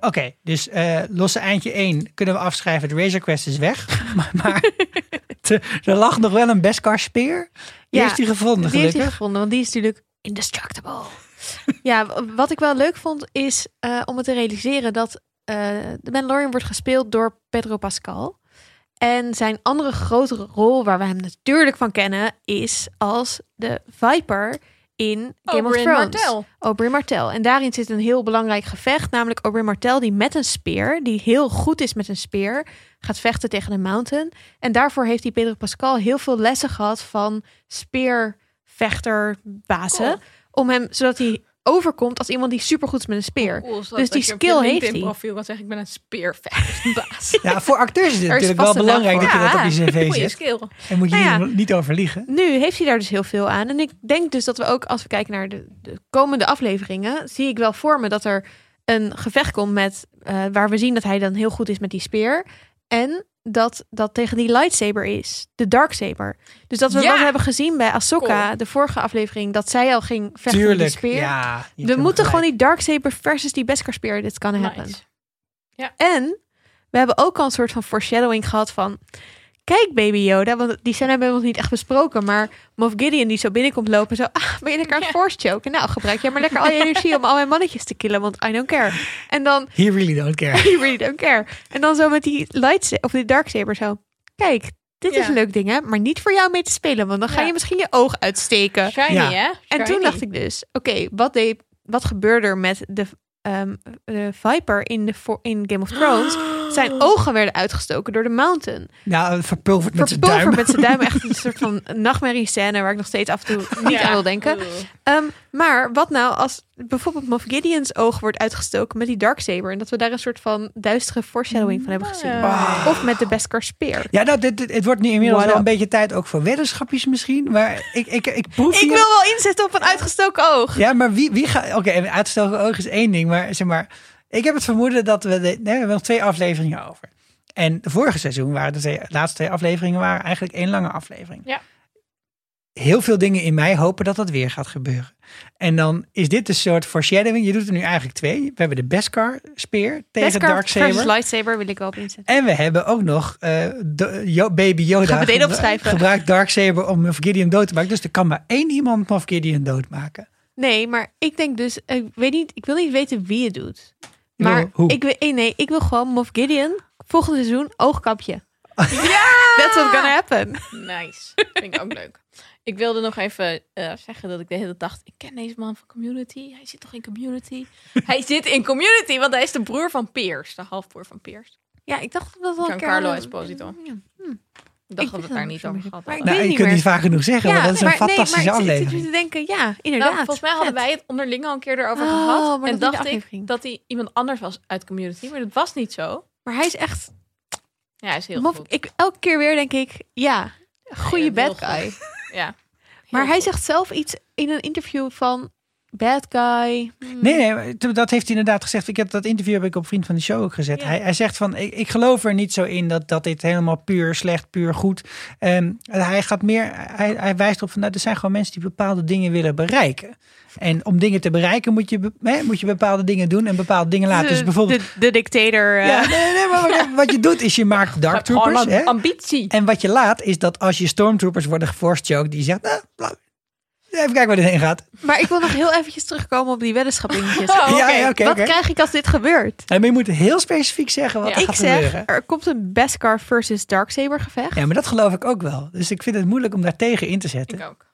S1: Oké, dus eh, losse eindje 1 kunnen we afschrijven. De Razor Quest is weg. [LAUGHS] maar maar te- er lag nog wel een Beskar speer. Die
S2: Ja,
S1: heeft hij gevonden,
S2: Die heeft hij
S1: gelukkig.
S2: gevonden, want die is natuurlijk
S1: [LAUGHS]
S2: indestructible. ja, w- wat ik wel leuk vond is eh, om het te realiseren dat eh, de Mandalorian wordt gespeeld door Pedro Pascal. En zijn andere grotere rol, waar we hem natuurlijk van kennen, is als de Viper in Game
S3: Oberyn
S2: of Thrones.
S3: Martell.
S2: Oberyn Martell. En daarin zit een heel belangrijk gevecht, namelijk Oberyn Martell die met een speer, die heel goed is met een speer, gaat vechten tegen de Mountain. En daarvoor heeft die Pedro Pascal heel veel lessen gehad van speervechterbazen,
S3: Cool.
S2: om hem, zodat hij overkomt als iemand die supergoed is met een speer.
S3: Cool is dat,
S2: dus
S3: dat
S2: die
S3: je op je
S2: skill heeft
S3: LinkedIn
S2: hij.
S3: profiel kan zeggen, ik ben een speervechtersbaas.
S1: Ja, voor acteurs is het
S2: Er is
S1: natuurlijk wel
S2: vast een naam
S1: belangrijk dat je
S2: voor.
S1: dat op
S2: Ja,
S1: je cv
S3: Goeie
S1: zet.
S3: skill.
S1: En moet je
S2: Nou ja.
S1: hier niet over liegen.
S2: Nu heeft hij daar dus heel veel aan. En ik denk dus dat we ook, als we kijken naar de, de komende afleveringen, zie ik wel voor me dat er een gevecht komt met, eh, waar we zien dat hij dan heel goed is met die speer. En dat dat tegen die lightsaber is, de darksaber. Dus dat we
S3: Ja.
S2: wat hebben gezien bij Ahsoka,
S3: Cool.
S2: de vorige aflevering, dat zij al ging vechten met
S1: Tuurlijk.
S2: die speer.
S1: Ja, je hebt
S2: we
S1: helemaal
S2: moeten
S1: gelijk.
S2: gewoon die darksaber versus die Beskar speer, dit kan happen.
S3: Nice.
S2: En we hebben ook al een soort van foreshadowing gehad van... Kijk, baby Yoda, want die scène hebben we nog niet echt besproken. Maar Moff Gideon die zo binnenkomt lopen en zo... Ah, ben je lekker aan het force choken? Nou, gebruik jij maar lekker al je energie om al mijn mannetjes te killen, want I don't care. En dan... [LAUGHS]
S1: He really don't care.
S2: I really don't care. En dan zo met die lights of die darksaber zo... Kijk, dit is
S3: Ja.
S2: een leuk ding, hè? Maar niet voor jou mee te spelen, want dan ga
S3: Ja.
S2: je misschien je oog uitsteken.
S3: Shiny,
S1: Ja.
S3: hè?
S2: En toen
S3: Shiny.
S2: dacht ik dus, oké, wat deed wat gebeurde er met de, ehm, de Viper in, de, vo- in Game of [GASPS] Thrones? Zijn ogen werden uitgestoken door de Mountain.
S1: Ja, Nou, verpulverd met zijn
S2: Verpulver
S1: duim.
S2: met zijn duim. Echt [LAUGHS] een soort van nachtmerrie scène waar ik nog steeds af en toe niet
S3: Ja.
S2: aan wil denken. Ehm, maar wat nou als bijvoorbeeld Moff Gideon's oog wordt uitgestoken met die Darksaber. En dat we daar een soort van duistere foreshadowing van hebben gezien. Of met de Beskar speer.
S1: Ja, nou, dit, dit- het wordt nu inmiddels
S2: What
S1: wel een
S2: up?
S1: beetje tijd ook voor weddenschapjes misschien. Maar ik, ik, ik proef
S2: Ik
S1: hier-
S2: wil wel inzetten op een uitgestoken oog.
S1: Ja, maar wie, wie gaat... Oké, een uitgestoken oog is één ding. Maar zeg maar, ik heb het vermoeden dat we... De, nee, we hebben nog twee afleveringen over. En de vorige seizoen waren de twee- laatste twee afleveringen... waren eigenlijk één lange aflevering.
S3: Ja.
S1: Heel veel dingen in mij hopen dat dat weer gaat gebeuren. En dan is dit een soort foreshadowing. Je doet er nu eigenlijk twee. We hebben de Beskar-speer tegen
S2: Beskar versus
S1: Darksaber.
S2: lightsaber wil ik wel op inzetten.
S1: En we hebben ook nog eh, Do- Jo- Baby Yoda.
S2: Ga ik meteen
S1: gebru-
S2: opschrijven.
S1: Gebruikt Darksaber om Moff Gideon dood te maken. Dus er kan maar één iemand Moff Gideon doodmaken.
S2: Nee, maar ik denk dus, ik weet niet, ik wil niet weten wie het doet.
S1: wil
S2: Maar
S1: hoe.
S2: ik wil, eh, nee, ik wil gewoon Moff Gideon volgend seizoen oogkapje.
S3: [LAUGHS]
S2: Ja! That's what gonna happen.
S3: Nice. Vind ik ook leuk. Ik wilde nog even eh, zeggen dat ik de hele tijd dacht... ik ken deze man van Community. Hij zit toch in
S2: [LAUGHS]
S3: Community? hij zit in Community, want hij is de broer van Piers. De halfbroer van Piers.
S2: Ja, ik dacht dat dat wel een keer-
S3: Giancarlo Esposito.
S2: Ja. Hm.
S3: Ik
S2: wist
S3: dacht dat we
S2: dat
S3: het daar
S2: nog
S3: niet
S2: zo'n
S3: over
S2: beetje.
S3: gehad
S2: Maar ik
S3: hadden.
S2: weet
S1: Nou, je
S2: niet
S1: kunt
S2: meer.
S1: niet vaak genoeg zeggen, want dat is een
S2: maar- nee,
S1: fantastische
S2: maar ik zit-
S1: aflevering.
S2: Ik zit te denken, ja, inderdaad.
S3: Nou, volgens mij hadden wij het onderling al een keer erover
S2: Oh, maar
S3: gehad.
S2: dat
S3: En
S2: in de
S3: dacht ik
S2: aflevering.
S3: dat hij iemand anders was uit Community. Maar dat was niet zo.
S2: Maar hij is echt,
S3: Ja, hij is heel
S2: Moff-
S3: goed.
S2: ik, elke keer weer denk ik, ja, goede
S3: Ja, heel
S2: bad guy.
S3: Ja.
S2: Maar
S3: Heel
S2: hij
S3: goed.
S2: zegt zelf iets in een interview van, bad guy. hmm,
S1: Nee, nee, maar t- dat heeft hij inderdaad gezegd. Ik heb dat interview heb ik op vriend van de show ook gezet. Hij, hij zegt van, ik, ik geloof er niet zo in dat, dat dit helemaal puur slecht, puur goed. Ehm, hij gaat meer, hij, hij wijst erop van, nou, er zijn gewoon mensen die bepaalde dingen willen bereiken. En om dingen te bereiken moet je, be- hè, moet je bepaalde dingen doen en bepaalde dingen laten. Dus
S2: de-
S1: bijvoorbeeld
S2: De, de dictator. eh,
S1: Ja, nee, nee, maar wat, wat je doet is je maakt Dark Troopers.
S3: Gewoon
S1: Hè?
S3: am- Oh, ambitie.
S1: En wat je laat is dat als je Stormtroopers worden geforced die zegt... nou, nou, even kijken waar dit heen gaat.
S2: Maar ik wil nog heel eventjes terugkomen op die weddenschappingetjes.
S3: Oh, oké.
S1: Ja, ja, oké.
S2: Wat
S1: oké.
S2: krijg ik als dit gebeurt?
S1: Ja, maar je moet heel specifiek zeggen wat
S3: Ja.
S1: er
S2: ik
S1: gaat
S2: zeg,
S1: gebeuren.
S2: er komt een Beskar versus Darksaber gevecht.
S1: Ja, maar dat geloof ik ook wel. Dus ik vind het moeilijk om daar tegen in te zetten.
S3: Ik ook.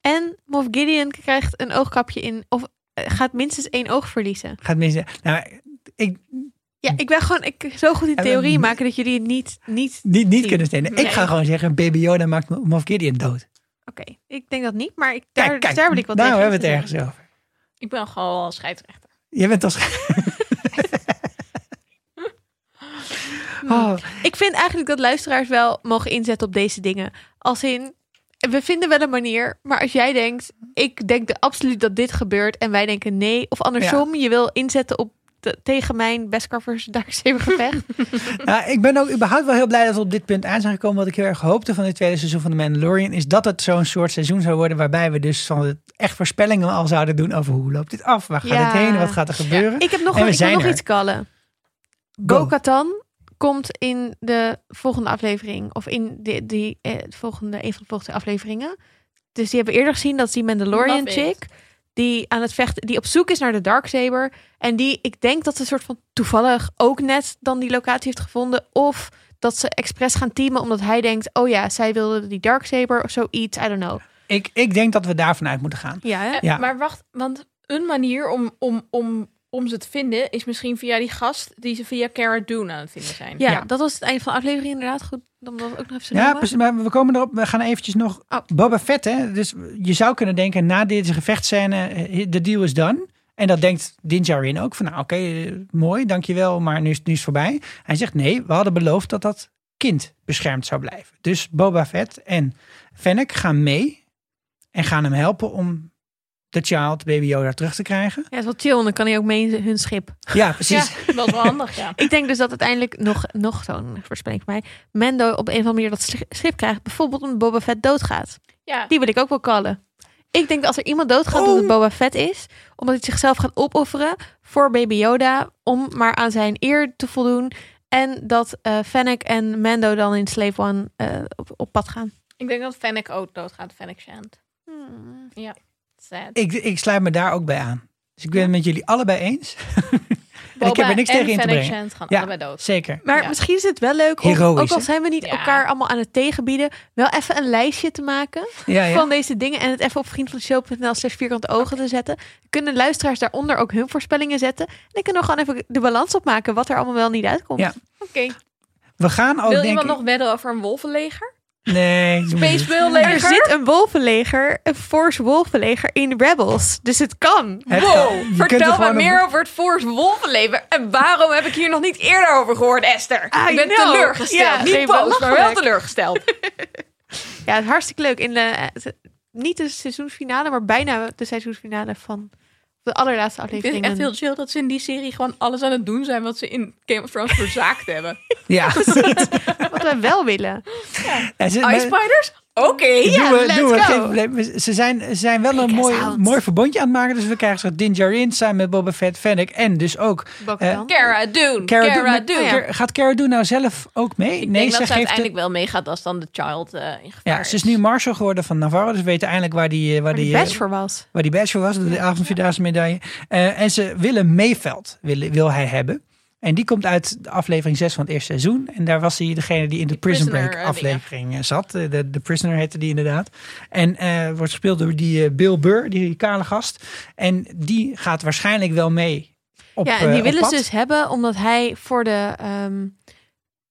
S2: En Moff Gideon krijgt een oogkapje in, of eh, gaat minstens één oog verliezen.
S1: Gaat mensen, nou, ik
S2: Ja, ik ben gewoon ik, zo goed in
S1: Hm. En
S2: theorie
S1: dan-
S2: maken dat jullie het niet... niet...
S1: niet, niet
S2: Zie.
S1: kunnen stenen.
S2: Nee.
S1: Ik ga gewoon zeggen, Baby Yoda maakt Moff Gideon dood.
S2: Oké, ik denk dat niet, maar ik, daar, dus
S1: Kijk, kijk.
S2: daar wil ik wat
S1: nou,
S2: tegen
S1: we hebben
S2: te
S1: het
S2: zeggen.
S1: ergens over.
S3: Ik ben gewoon al scheidsrechter.
S1: Je bent
S2: [LAUGHS]
S1: als... oh,
S2: Ik vind eigenlijk dat luisteraars wel mogen inzetten op deze dingen. Als in, we vinden wel een manier, maar als jij denkt, ik denk de, absoluut dat dit gebeurt en wij denken nee, of andersom, je wil inzetten op de- tegen mijn best covers [LAUGHS] Darksaber gevecht.
S1: Ja, Nou, ik ben ook überhaupt wel heel blij dat we op dit punt aan zijn gekomen. Wat ik heel erg hoopte van dit tweede seizoen van The Mandalorian... is dat het zo'n soort seizoen zou worden... waarbij we dus van het echt voorspellingen al zouden doen... over hoe loopt dit af, waar gaat
S2: Ja.
S1: het heen, wat gaat er gebeuren.
S2: ik heb nog,
S1: En we
S2: ik wil
S1: zijn
S2: nog
S1: er.
S2: iets kallen.
S1: Go.
S2: Bo-Katan komt in de volgende aflevering, of in die, die, eh, volgende, een van de volgende afleveringen. Dus die hebben we eerder gezien, dat is die Mandalorian
S3: Love it.
S2: chick. Die aan het vechten, die op zoek is naar de Darksaber. En die, ik denk dat ze een soort van toevallig ook net dan die locatie heeft gevonden. Of dat ze expres gaan teamen, omdat hij denkt, oh ja, zij wilde die Darksaber of zoiets. I don't know.
S1: Ik, ik denk dat we daarvan uit moeten gaan.
S2: Ja, hè?
S3: Eh,
S1: Ja.
S3: Maar wacht, want een manier om, om, om, om ze te vinden is misschien via die gast die ze via Cara Dune aan het vinden zijn.
S2: Ja,
S1: Ja.
S2: dat was het einde van de aflevering inderdaad. Goed, dan dat ook nog even te
S1: Ja,
S2: noemen.
S1: precies, maar we komen erop. We gaan eventjes nog...
S2: Oh.
S1: Boba Fett, hè. Dus je zou kunnen denken, na deze gevechtscène... eh, de deal is done. En dat denkt Din Djarin ook. Van nou, oké, eh, mooi, dankjewel, maar nu is, nu is het voorbij. Hij zegt nee, we hadden beloofd dat dat kind beschermd zou blijven. Dus Boba Fett en Fennec gaan mee... en gaan hem helpen om de child, baby Yoda, terug te
S2: [LAUGHS]
S1: krijgen.
S2: Ja, dat is wel chill. want Dan kan hij ook mee in hun schip.
S1: Ja, precies.
S3: Ja, dat is wel
S1: [LAUGHS]
S3: handig, ja.
S2: Ik denk dus dat uiteindelijk nog, nog zo'n voorspelling voor mij. Mendo op een of andere manier dat sch- schip krijgt. Bijvoorbeeld omdat Boba Fett doodgaat.
S3: ja.
S2: Die wil ik ook wel kallen. Ik denk dat als er iemand doodgaat,
S1: Oh.
S2: dat het Boba Fett is. Omdat hij zichzelf gaat opofferen voor Baby Yoda. Om maar aan zijn eer te voldoen. En dat eh Fennec en Mendo dan in Slave One eh, op, op pad gaan.
S3: Ik denk dat Fennec ook doodgaat, Fennec Shand. Sad.
S1: Ik, ik sluit me daar ook bij aan. Dus ik ben het met jullie allebei eens. En ik heb er niks
S3: en
S1: tegen in te
S3: Fennec
S1: brengen.
S3: Shand gaan
S1: ja,
S3: allebei dood.
S1: Zeker.
S2: Maar
S3: Ja.
S2: misschien is het wel leuk om,
S1: Heroïs,
S2: ook al
S1: hè?
S2: zijn we niet
S3: Ja.
S2: elkaar allemaal aan het tegenbieden, wel even een lijstje te maken
S1: Ja, ja.
S2: van deze dingen en het even op vriendvandeshow.nl slash vierkante ogen te zetten. Kunnen luisteraars daaronder ook hun voorspellingen zetten. En dan kunnen we gewoon even de balans opmaken wat er allemaal wel niet uitkomt.
S1: Ja.
S3: Oké.
S1: We gaan ook
S3: Wil
S1: Oh, denk
S3: iemand
S1: ik-
S3: nog wedden over een wolvenleger?
S1: Nee. doen we niet.
S2: Er zit een wolvenleger, een Force wolvenleger in Rebels. Dus het kan.
S1: Het kan. Je
S3: Wow,
S1: kunt er
S3: vertel me
S1: gewoon een-
S3: meer over het Force Wolvenleven. En waarom heb ik hier nog niet eerder over gehoord, Esther?
S2: I
S1: Ah,
S3: ik ben
S1: nou.
S2: know.
S3: teleurgesteld.
S2: Ja, nee,
S3: niet boos, maar wel
S2: belachelijk.
S3: teleurgesteld.
S2: Ja, het is hartstikke leuk. In de, het- niet de seizoensfinale, maar bijna de seizoensfinale van de allerlaatste
S3: ik
S2: aflevering.
S3: vind het echt heel chill dat ze in die serie gewoon alles aan het doen zijn wat ze in Game of Thrones verzaakt hebben. [LAUGHS]
S1: Ja.
S2: Wat we wel willen.
S1: En ze-
S3: Ice
S1: maar-
S3: Spiders? Oké.
S1: doen
S2: Ja,
S1: we,
S2: let's
S1: doen we,
S2: go.
S1: geen probleem. We- Ze zijn, ze zijn wel een
S2: us
S1: mooi,
S2: out.
S1: mooi verbondje aan het maken. Dus we krijgen zo Din Djarin samen met Boba Fett, Fennec en dus ook...
S2: Bo-Katan.
S3: Cara Dune.
S1: Cara Dune.
S3: Cara
S1: Maar-
S3: Dune.
S2: Oh ja.
S1: Ker- Gaat Cara Dune nou zelf ook mee?
S3: Ik
S1: nee,
S3: denk
S1: ze
S3: dat ze
S1: geeft
S3: uiteindelijk wel meegaat als dan de child eh in gevaar
S1: Ja, ze is nu marshal geworden van Navarro. Dus we weten eindelijk waar die, eh, waar
S2: Waar
S1: die,
S2: die
S1: eh,
S2: best voor was.
S1: waar die badge voor was. De avondvierdaagse medaille. Eh, en ze willen Mayveld wil, wil hij hebben. En die komt uit de aflevering 6 van het eerste seizoen. En daar was hij degene die in de Prison
S3: Prisoner,
S1: Break
S2: oh,
S3: eh,
S1: aflevering eh, zat. Eh, De, de Prisoner heette die inderdaad. En eh, wordt gespeeld door die eh, Bill Burr, die kale gast. En die gaat waarschijnlijk wel mee op
S2: ja, en die
S1: eh, op
S2: willen
S1: pad.
S2: ze dus hebben omdat hij voor de, ehm,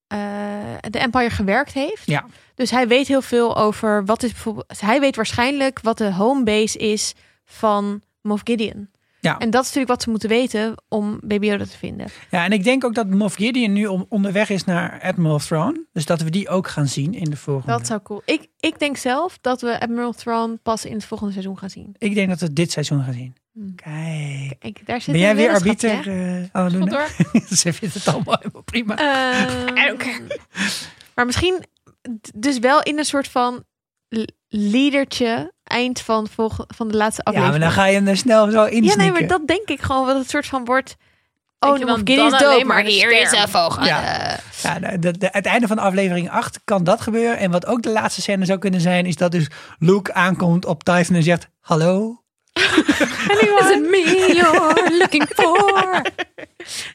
S2: eh, de Empire gewerkt heeft.
S1: Ja.
S2: Dus hij weet heel veel over wat is bijvoorbeeld. Hij weet waarschijnlijk wat de homebase is van Moff Gideon.
S1: Ja.
S2: En dat is natuurlijk wat ze moeten weten om Baby Yoda te vinden.
S1: Ja, en ik denk ook dat Moff Gideon nu om- onderweg is naar Admiral Thrawn. Dus dat we die ook gaan zien in de volgende.
S2: Dat zou cool. Ik, ik denk zelf dat we Admiral Thrawn pas in het volgende seizoen gaan zien.
S1: Ik denk dat we het dit seizoen gaan zien.
S2: Hmm.
S1: Kijk.
S2: Ik, daar zit
S1: Ben jij
S2: een
S1: weer
S2: weddenschapje,
S1: arbiter, eh Annalena? [LAUGHS] Ze vindt het allemaal helemaal prima.
S2: hè? Eh, Maar misschien d- dus wel in een soort van l- liedertje eind van, volg- van de laatste
S1: ja, maar
S2: aflevering.
S1: dan ga je hem er snel zo in
S2: Ja, nee, maar dat denk ik gewoon. Wat het soort van wordt. Oh,
S3: je
S2: de
S3: dan,
S2: Moff Gideon
S3: dan
S2: is dood,
S3: alleen
S2: maar
S3: maar
S2: hier
S3: hier.
S2: is een vogel.
S1: Ja.
S2: Ja.
S1: Ja, de, de- de- het einde van aflevering 8 kan dat gebeuren. En wat ook de laatste scène zou kunnen zijn... is dat dus Luke aankomt op Typhon en zegt... Hallo?
S2: [LAUGHS] Is it me you're looking [LAUGHS] for?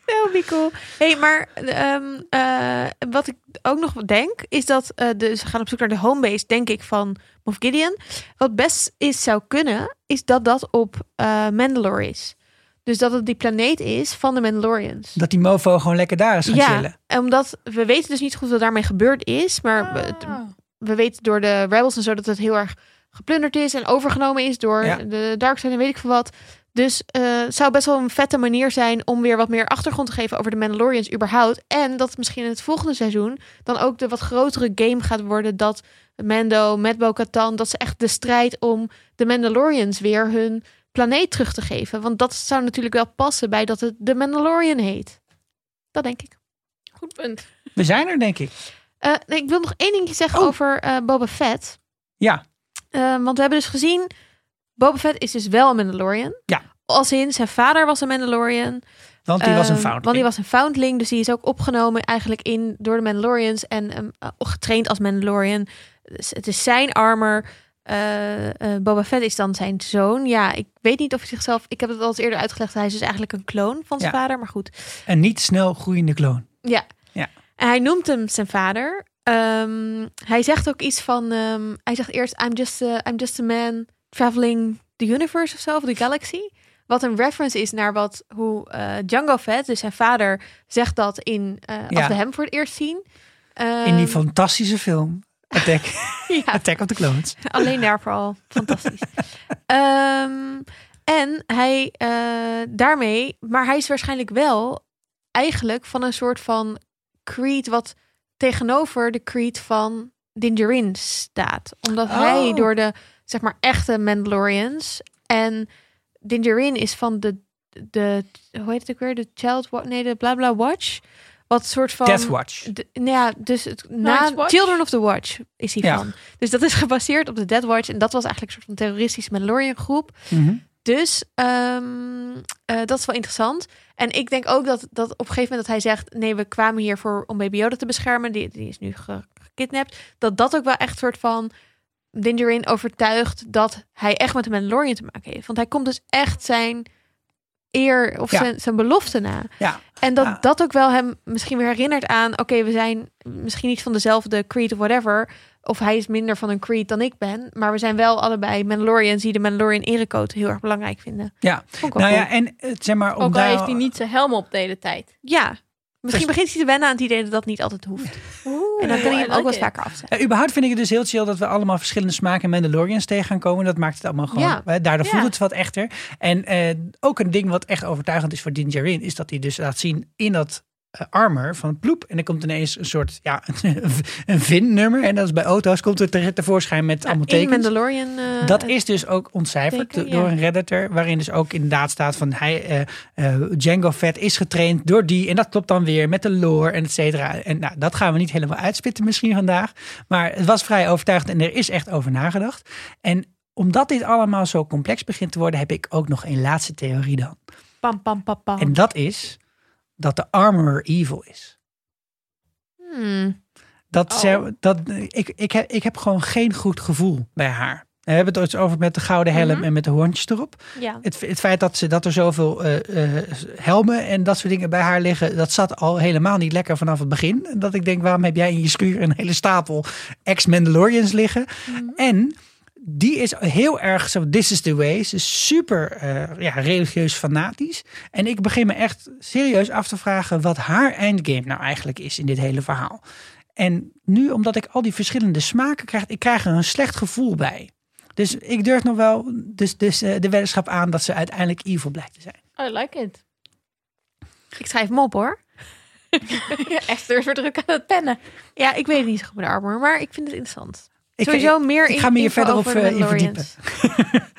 S2: Heel cool. Nou, hey, maar ehm, eh, wat ik ook nog denk, is dat eh, de, ze gaan op zoek naar de homebase, denk ik, van Moff Gideon. Wat best is, zou kunnen, is dat dat op eh Mandalore is. Dus dat het die planeet is van de Mandalorians.
S1: Dat die mofo gewoon lekker daar is gaan chillen.
S2: Ja, en omdat we weten dus niet goed wat daarmee gebeurd is, maar we- we weten door de Rebels en zo dat het heel erg geplunderd is en overgenomen is door
S1: Ja.
S2: de Dark Side en weet ik veel wat. Dus eh, het zou best wel een vette manier zijn om weer wat meer achtergrond te geven over de Mandalorians überhaupt. En dat het misschien in het volgende seizoen dan ook de wat grotere game gaat worden dat Mando met Bo-Katan, dat ze echt de strijd om de Mandalorians weer hun planeet terug te geven. Want dat zou natuurlijk wel passen bij dat het de Mandalorian heet. Dat denk ik.
S3: Goed punt.
S1: We zijn er, denk ik.
S2: Eh, nee, ik wil nog één dingetje zeggen
S1: Oh.
S2: over eh, Boba Fett.
S1: Ja,
S2: Eh, want we hebben dus gezien, Boba Fett is dus wel een Mandalorian.
S1: Ja.
S2: Als in, zijn vader was een Mandalorian.
S1: want die was een
S2: Ehm,
S1: fout.
S2: Want die was een foundling, dus die is ook opgenomen eigenlijk in door de Mandalorians en ehm, eh, getraind als Mandalorian. Dus het is zijn armor. Eh, eh, Boba Fett is dan zijn zoon. Ja, ik weet niet of hij zichzelf. Ik heb het al eens eerder uitgelegd. Hij is dus eigenlijk een kloon van zijn
S1: Ja.
S2: vader, maar goed.
S1: Een niet snel groeiende kloon.
S2: Ja.
S1: Ja.
S2: En hij noemt hem zijn vader. Ehm, hij zegt ook iets van. ehm, hij zegt eerst: I'm just, a, I'm just a man traveling the universe of zo, of the galaxy. Wat een reference is naar wat, hoe eh, Django Fett, dus zijn vader, zegt dat in. eh,
S1: Ja.
S2: Als we hem voor het eerst zien.
S1: In die
S2: Ehm,
S1: fantastische film Attack,
S2: [LAUGHS] ja.
S1: Attack of the Clones.
S2: [LAUGHS] Alleen daarvoor al. Fantastisch. Ehm, en hij eh, daarmee, maar hij is waarschijnlijk wel eigenlijk van een soort van creed wat tegenover de creed van Dingerin staat. Omdat hij
S1: Oh.
S2: door de, zeg maar, echte Mandalorians en Dingerin is van de, de, hoe heet het ook weer? De Child, Wa- nee, de bla bla watch. Wat soort van...
S1: Death Watch. Mhm.
S2: De- nou ja, dus het, na
S3: Watch?
S2: Children of the Watch is
S1: Ja.
S2: hiervan. Dus dat is [LAUGHS] gebaseerd op de Dead Watch. En dat was eigenlijk een soort van terroristische Mandalorian groep.
S1: Mhm.
S2: Dus ehm, eh, dat is wel interessant. En ik denk ook dat, dat op een gegeven moment dat hij zegt... nee, we kwamen hier voor, om Baby Yoda te beschermen. Die, die is nu ge- gekidnapt. Dat dat ook wel echt soort van... Dingerin overtuigt dat hij echt met de Mandalorian te maken heeft. Want hij komt dus echt zijn eer of
S1: Ja.
S2: zijn, zijn belofte na.
S1: Ja.
S2: En dat
S1: Ja.
S2: dat ook wel hem misschien weer herinnert aan... oké, we zijn misschien niet van dezelfde creed of whatever... of hij is minder van een creed dan ik ben... maar we zijn wel allebei Mandalorians... die de Mandalorian erecode heel erg belangrijk vinden.
S1: Ja,
S2: Vond ik wel
S1: nou ja,
S2: cool.
S1: en eh, zeg maar... om
S3: Ook al
S1: daar-
S3: heeft hij niet zijn helm op de hele tijd.
S2: Ja, misschien begint hij te wennen aan het idee dat dat niet altijd hoeft. en dan kan hij
S3: I
S2: hem ook
S3: like
S2: wel
S3: it.
S2: vaker afzetten.
S1: Ja, überhaupt vind ik het dus heel chill dat we allemaal verschillende smaken Mandalorians tegen gaan komen. Dat maakt het allemaal gewoon.
S2: Ja.
S1: hè, Daardoor voelt
S2: Ja.
S1: het wat echter. En eh, ook een ding wat echt overtuigend is voor Din Djarin, is dat hij dus laat zien in dat eh, armor van ploep. En er komt ineens een soort ja, [LAUGHS] een, een VIN-nummer. En dat is bij auto's komt het te, tevoorschijn met allemaal
S2: In
S1: tekens.
S2: Mandalorian... eh,
S1: Dat is dus ook ontcijferd
S2: teken,
S1: do- door
S2: ja.
S1: een redditor, waarin dus ook inderdaad staat van hij, eh, eh, Django Fett is getraind door die en dat klopt dan weer met de lore en et cetera. En nou, dat gaan we niet helemaal uitspitten misschien vandaag, maar het was vrij overtuigend en er is echt over nagedacht. En omdat dit allemaal zo complex begint te worden, heb ik ook nog een laatste theorie dan.
S2: Pam, pam, pam, pam.
S1: En dat is dat de armor evil is.
S2: Hmm.
S1: Dat
S3: Oh.
S1: ze, dat, ik, ik, heb, ik heb gewoon geen goed gevoel bij haar. We hebben het er eens over met de gouden helm en met de hoorntjes erop.
S2: Ja.
S1: Het, het feit dat, ze, dat er zoveel eh, eh, helmen en dat soort dingen bij haar liggen, dat zat al helemaal niet lekker vanaf het begin. Dat ik denk, waarom heb jij in je schuur een hele stapel ex-Mandalorians liggen? En die is heel erg zo, this is the way. Ze is super eh, ja, religieus fanatisch. En ik begin me echt serieus af te vragen wat haar endgame nou eigenlijk is in dit hele verhaal. En nu, omdat ik al die verschillende smaken krijg, ik krijg er een slecht gevoel bij. Dus ik durf nog wel dus, dus, eh, de weddenschap aan dat ze uiteindelijk evil blijkt te zijn.
S3: I like it.
S2: Ik schrijf hem op hoor.
S3: Echt weer druk aan het pennen.
S2: Ja, ik weet het niet zo goed met de armor, maar ik vind het interessant.
S1: Ik,
S2: Sowieso meer
S1: ik ga me hier
S2: info
S1: verder op
S2: over
S1: eh,
S2: de
S1: in verdiepen.
S2: Mandalorians.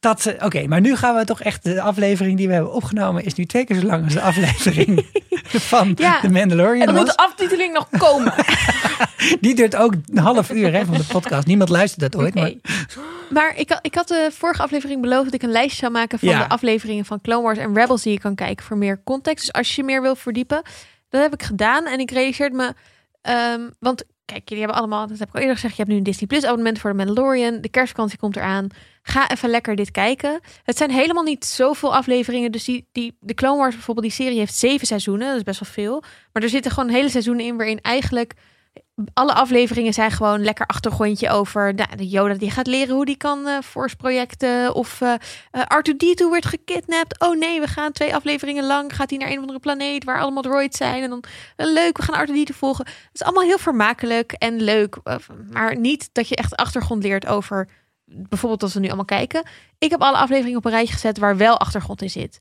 S1: dat, eh, Oké, maar nu gaan we toch echt. De aflevering die we hebben opgenomen is nu twee keer zo lang als
S2: [LAUGHS]
S1: de aflevering van
S2: Ja,
S1: The Mandalorian.
S3: En dan moet
S1: was.
S3: de aftiteling nog komen.
S1: Die duurt ook een half uur hè, van de podcast. Niemand luistert dat ooit.
S2: Nee. Maar ik, had- ik had de vorige aflevering beloofd dat ik een lijstje zou maken van
S1: Ja.
S2: de afleveringen van Clone Wars en Rebels die je kan kijken voor meer context. Dus als je je meer wil verdiepen, dat heb ik gedaan. En ik realiseerde me, ehm, want kijk, jullie hebben allemaal, dat heb ik al eerder gezegd, je hebt nu een Disney Plus abonnement voor de Mandalorian. De kerstvakantie komt eraan. Ga even lekker dit kijken. Het zijn helemaal niet zoveel afleveringen. Dus die, die, de Clone Wars bijvoorbeeld, die serie heeft zeven seizoenen. Dat is best wel veel. Maar er zitten gewoon hele seizoenen in waarin eigenlijk alle afleveringen zijn gewoon lekker achtergrondje over nou, de Yoda die gaat leren hoe die kan eh voorsprojecten of eh eh, R2D2 wordt gekidnapt. Oh nee, we gaan twee afleveringen lang gaat hij naar een of andere planeet waar allemaal droids zijn en dan eh, leuk, we gaan R2D2 volgen. Het is allemaal heel vermakelijk en leuk, eh, maar niet dat je echt achtergrond leert over bijvoorbeeld als we nu allemaal kijken. Ik heb alle afleveringen op een rijtje gezet waar wel achtergrond in zit.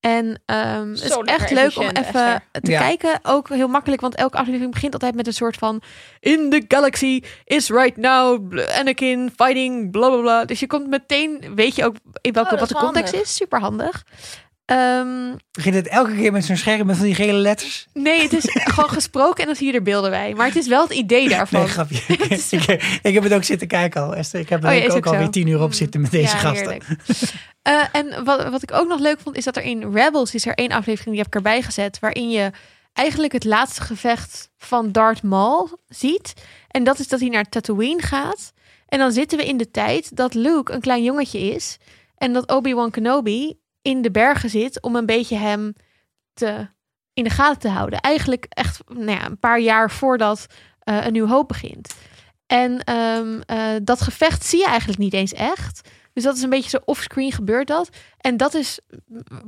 S2: En ehm, het is
S3: Zo lekker
S2: echt leuk om
S3: efficiënt,
S2: even
S3: Esther.
S2: te
S1: Ja.
S2: kijken. Ook heel makkelijk, want elke aflevering begint altijd met een soort van... In the galaxy is right now bl- Anakin fighting, bla bla bla. Dus je komt meteen, weet je ook in welke,
S3: Oh, dat
S2: wat
S3: is
S2: de
S3: wel
S2: context
S3: handig.
S2: is. Super handig. Ehm,
S1: Begint het elke keer met zo'n scherm met van die gele letters?
S2: nee, het
S1: [LAUGHS]
S2: is gewoon gesproken en dan zie je er beelden bij. Maar het is wel het idee daarvan.
S1: Nee, grapje.
S2: [LAUGHS]
S1: ik, ik- ik heb het ook zitten kijken al, Esther. Ik heb er
S2: Oh ja,
S1: denk ik
S2: is
S1: ook
S2: ook zo. Mm.
S1: alweer tien uur op zitten met deze
S2: ja,
S1: gasten.
S2: heerlijk. [LAUGHS] Eh, en wat, wat ik ook nog leuk vond, is dat er in Rebels is er één aflevering die heb ik erbij gezet, waarin je eigenlijk het laatste gevecht van Darth Maul ziet. En dat is dat hij naar Tatooine gaat. En dan zitten we in de tijd dat Luke een klein jongetje is en dat Obi-Wan Kenobi in de bergen zit om een beetje hem te, in de gaten te houden. Eigenlijk echt nou ja, een paar jaar voordat eh, een nieuw hoop begint. En ehm, eh, dat gevecht zie je eigenlijk niet eens echt. Dus dat is een beetje zo offscreen gebeurt dat. En dat is,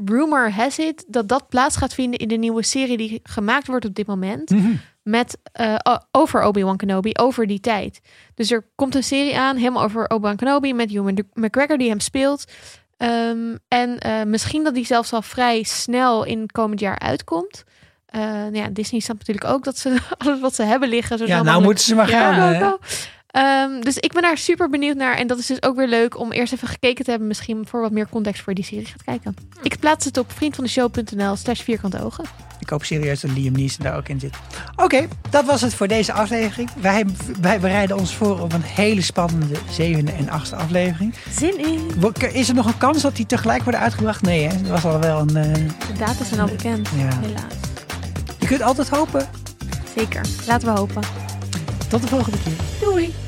S2: rumor has it, dat dat plaats gaat vinden in de nieuwe serie die gemaakt wordt op dit moment.
S1: Mhm.
S2: Met, eh, o- over Obi-Wan Kenobi, over die tijd. Dus er komt een serie aan, helemaal over Obi-Wan Kenobi met Ewan de- McGregor die hem speelt. Ehm, en eh, misschien dat die zelfs al vrij snel in komend jaar uitkomt. Eh, nou ja, Disney snapt natuurlijk ook dat ze [LAUGHS] alles wat ze hebben liggen. Zo
S1: Ja,
S2: snel
S1: nou
S2: mogelijk
S1: moeten ze maar gaan.
S2: ja,
S1: hè?
S2: go, go. Ehm, dus ik ben daar super benieuwd naar. En dat is dus ook weer leuk om eerst even gekeken te hebben. Misschien voor wat meer context voor je die serie gaat kijken. Ik plaats het op vriendvandeshow.nl slash vierkante ogen.
S1: Ik hoop serieus dat Liam Neeson daar ook in zit. Oké, dat was het voor deze aflevering. Wij, wij bereiden ons voor op een hele spannende zevende en achtste aflevering.
S2: Zin in.
S1: Wo- Is er nog een kans dat die tegelijk worden uitgebracht? Nee, hè? Dat was al wel een... eh,
S2: De data zijn al bekend.
S1: Ja.
S2: Helaas.
S1: Je kunt altijd hopen.
S2: Zeker. Laten we hopen.
S1: Tot de volgende keer.
S2: Doei.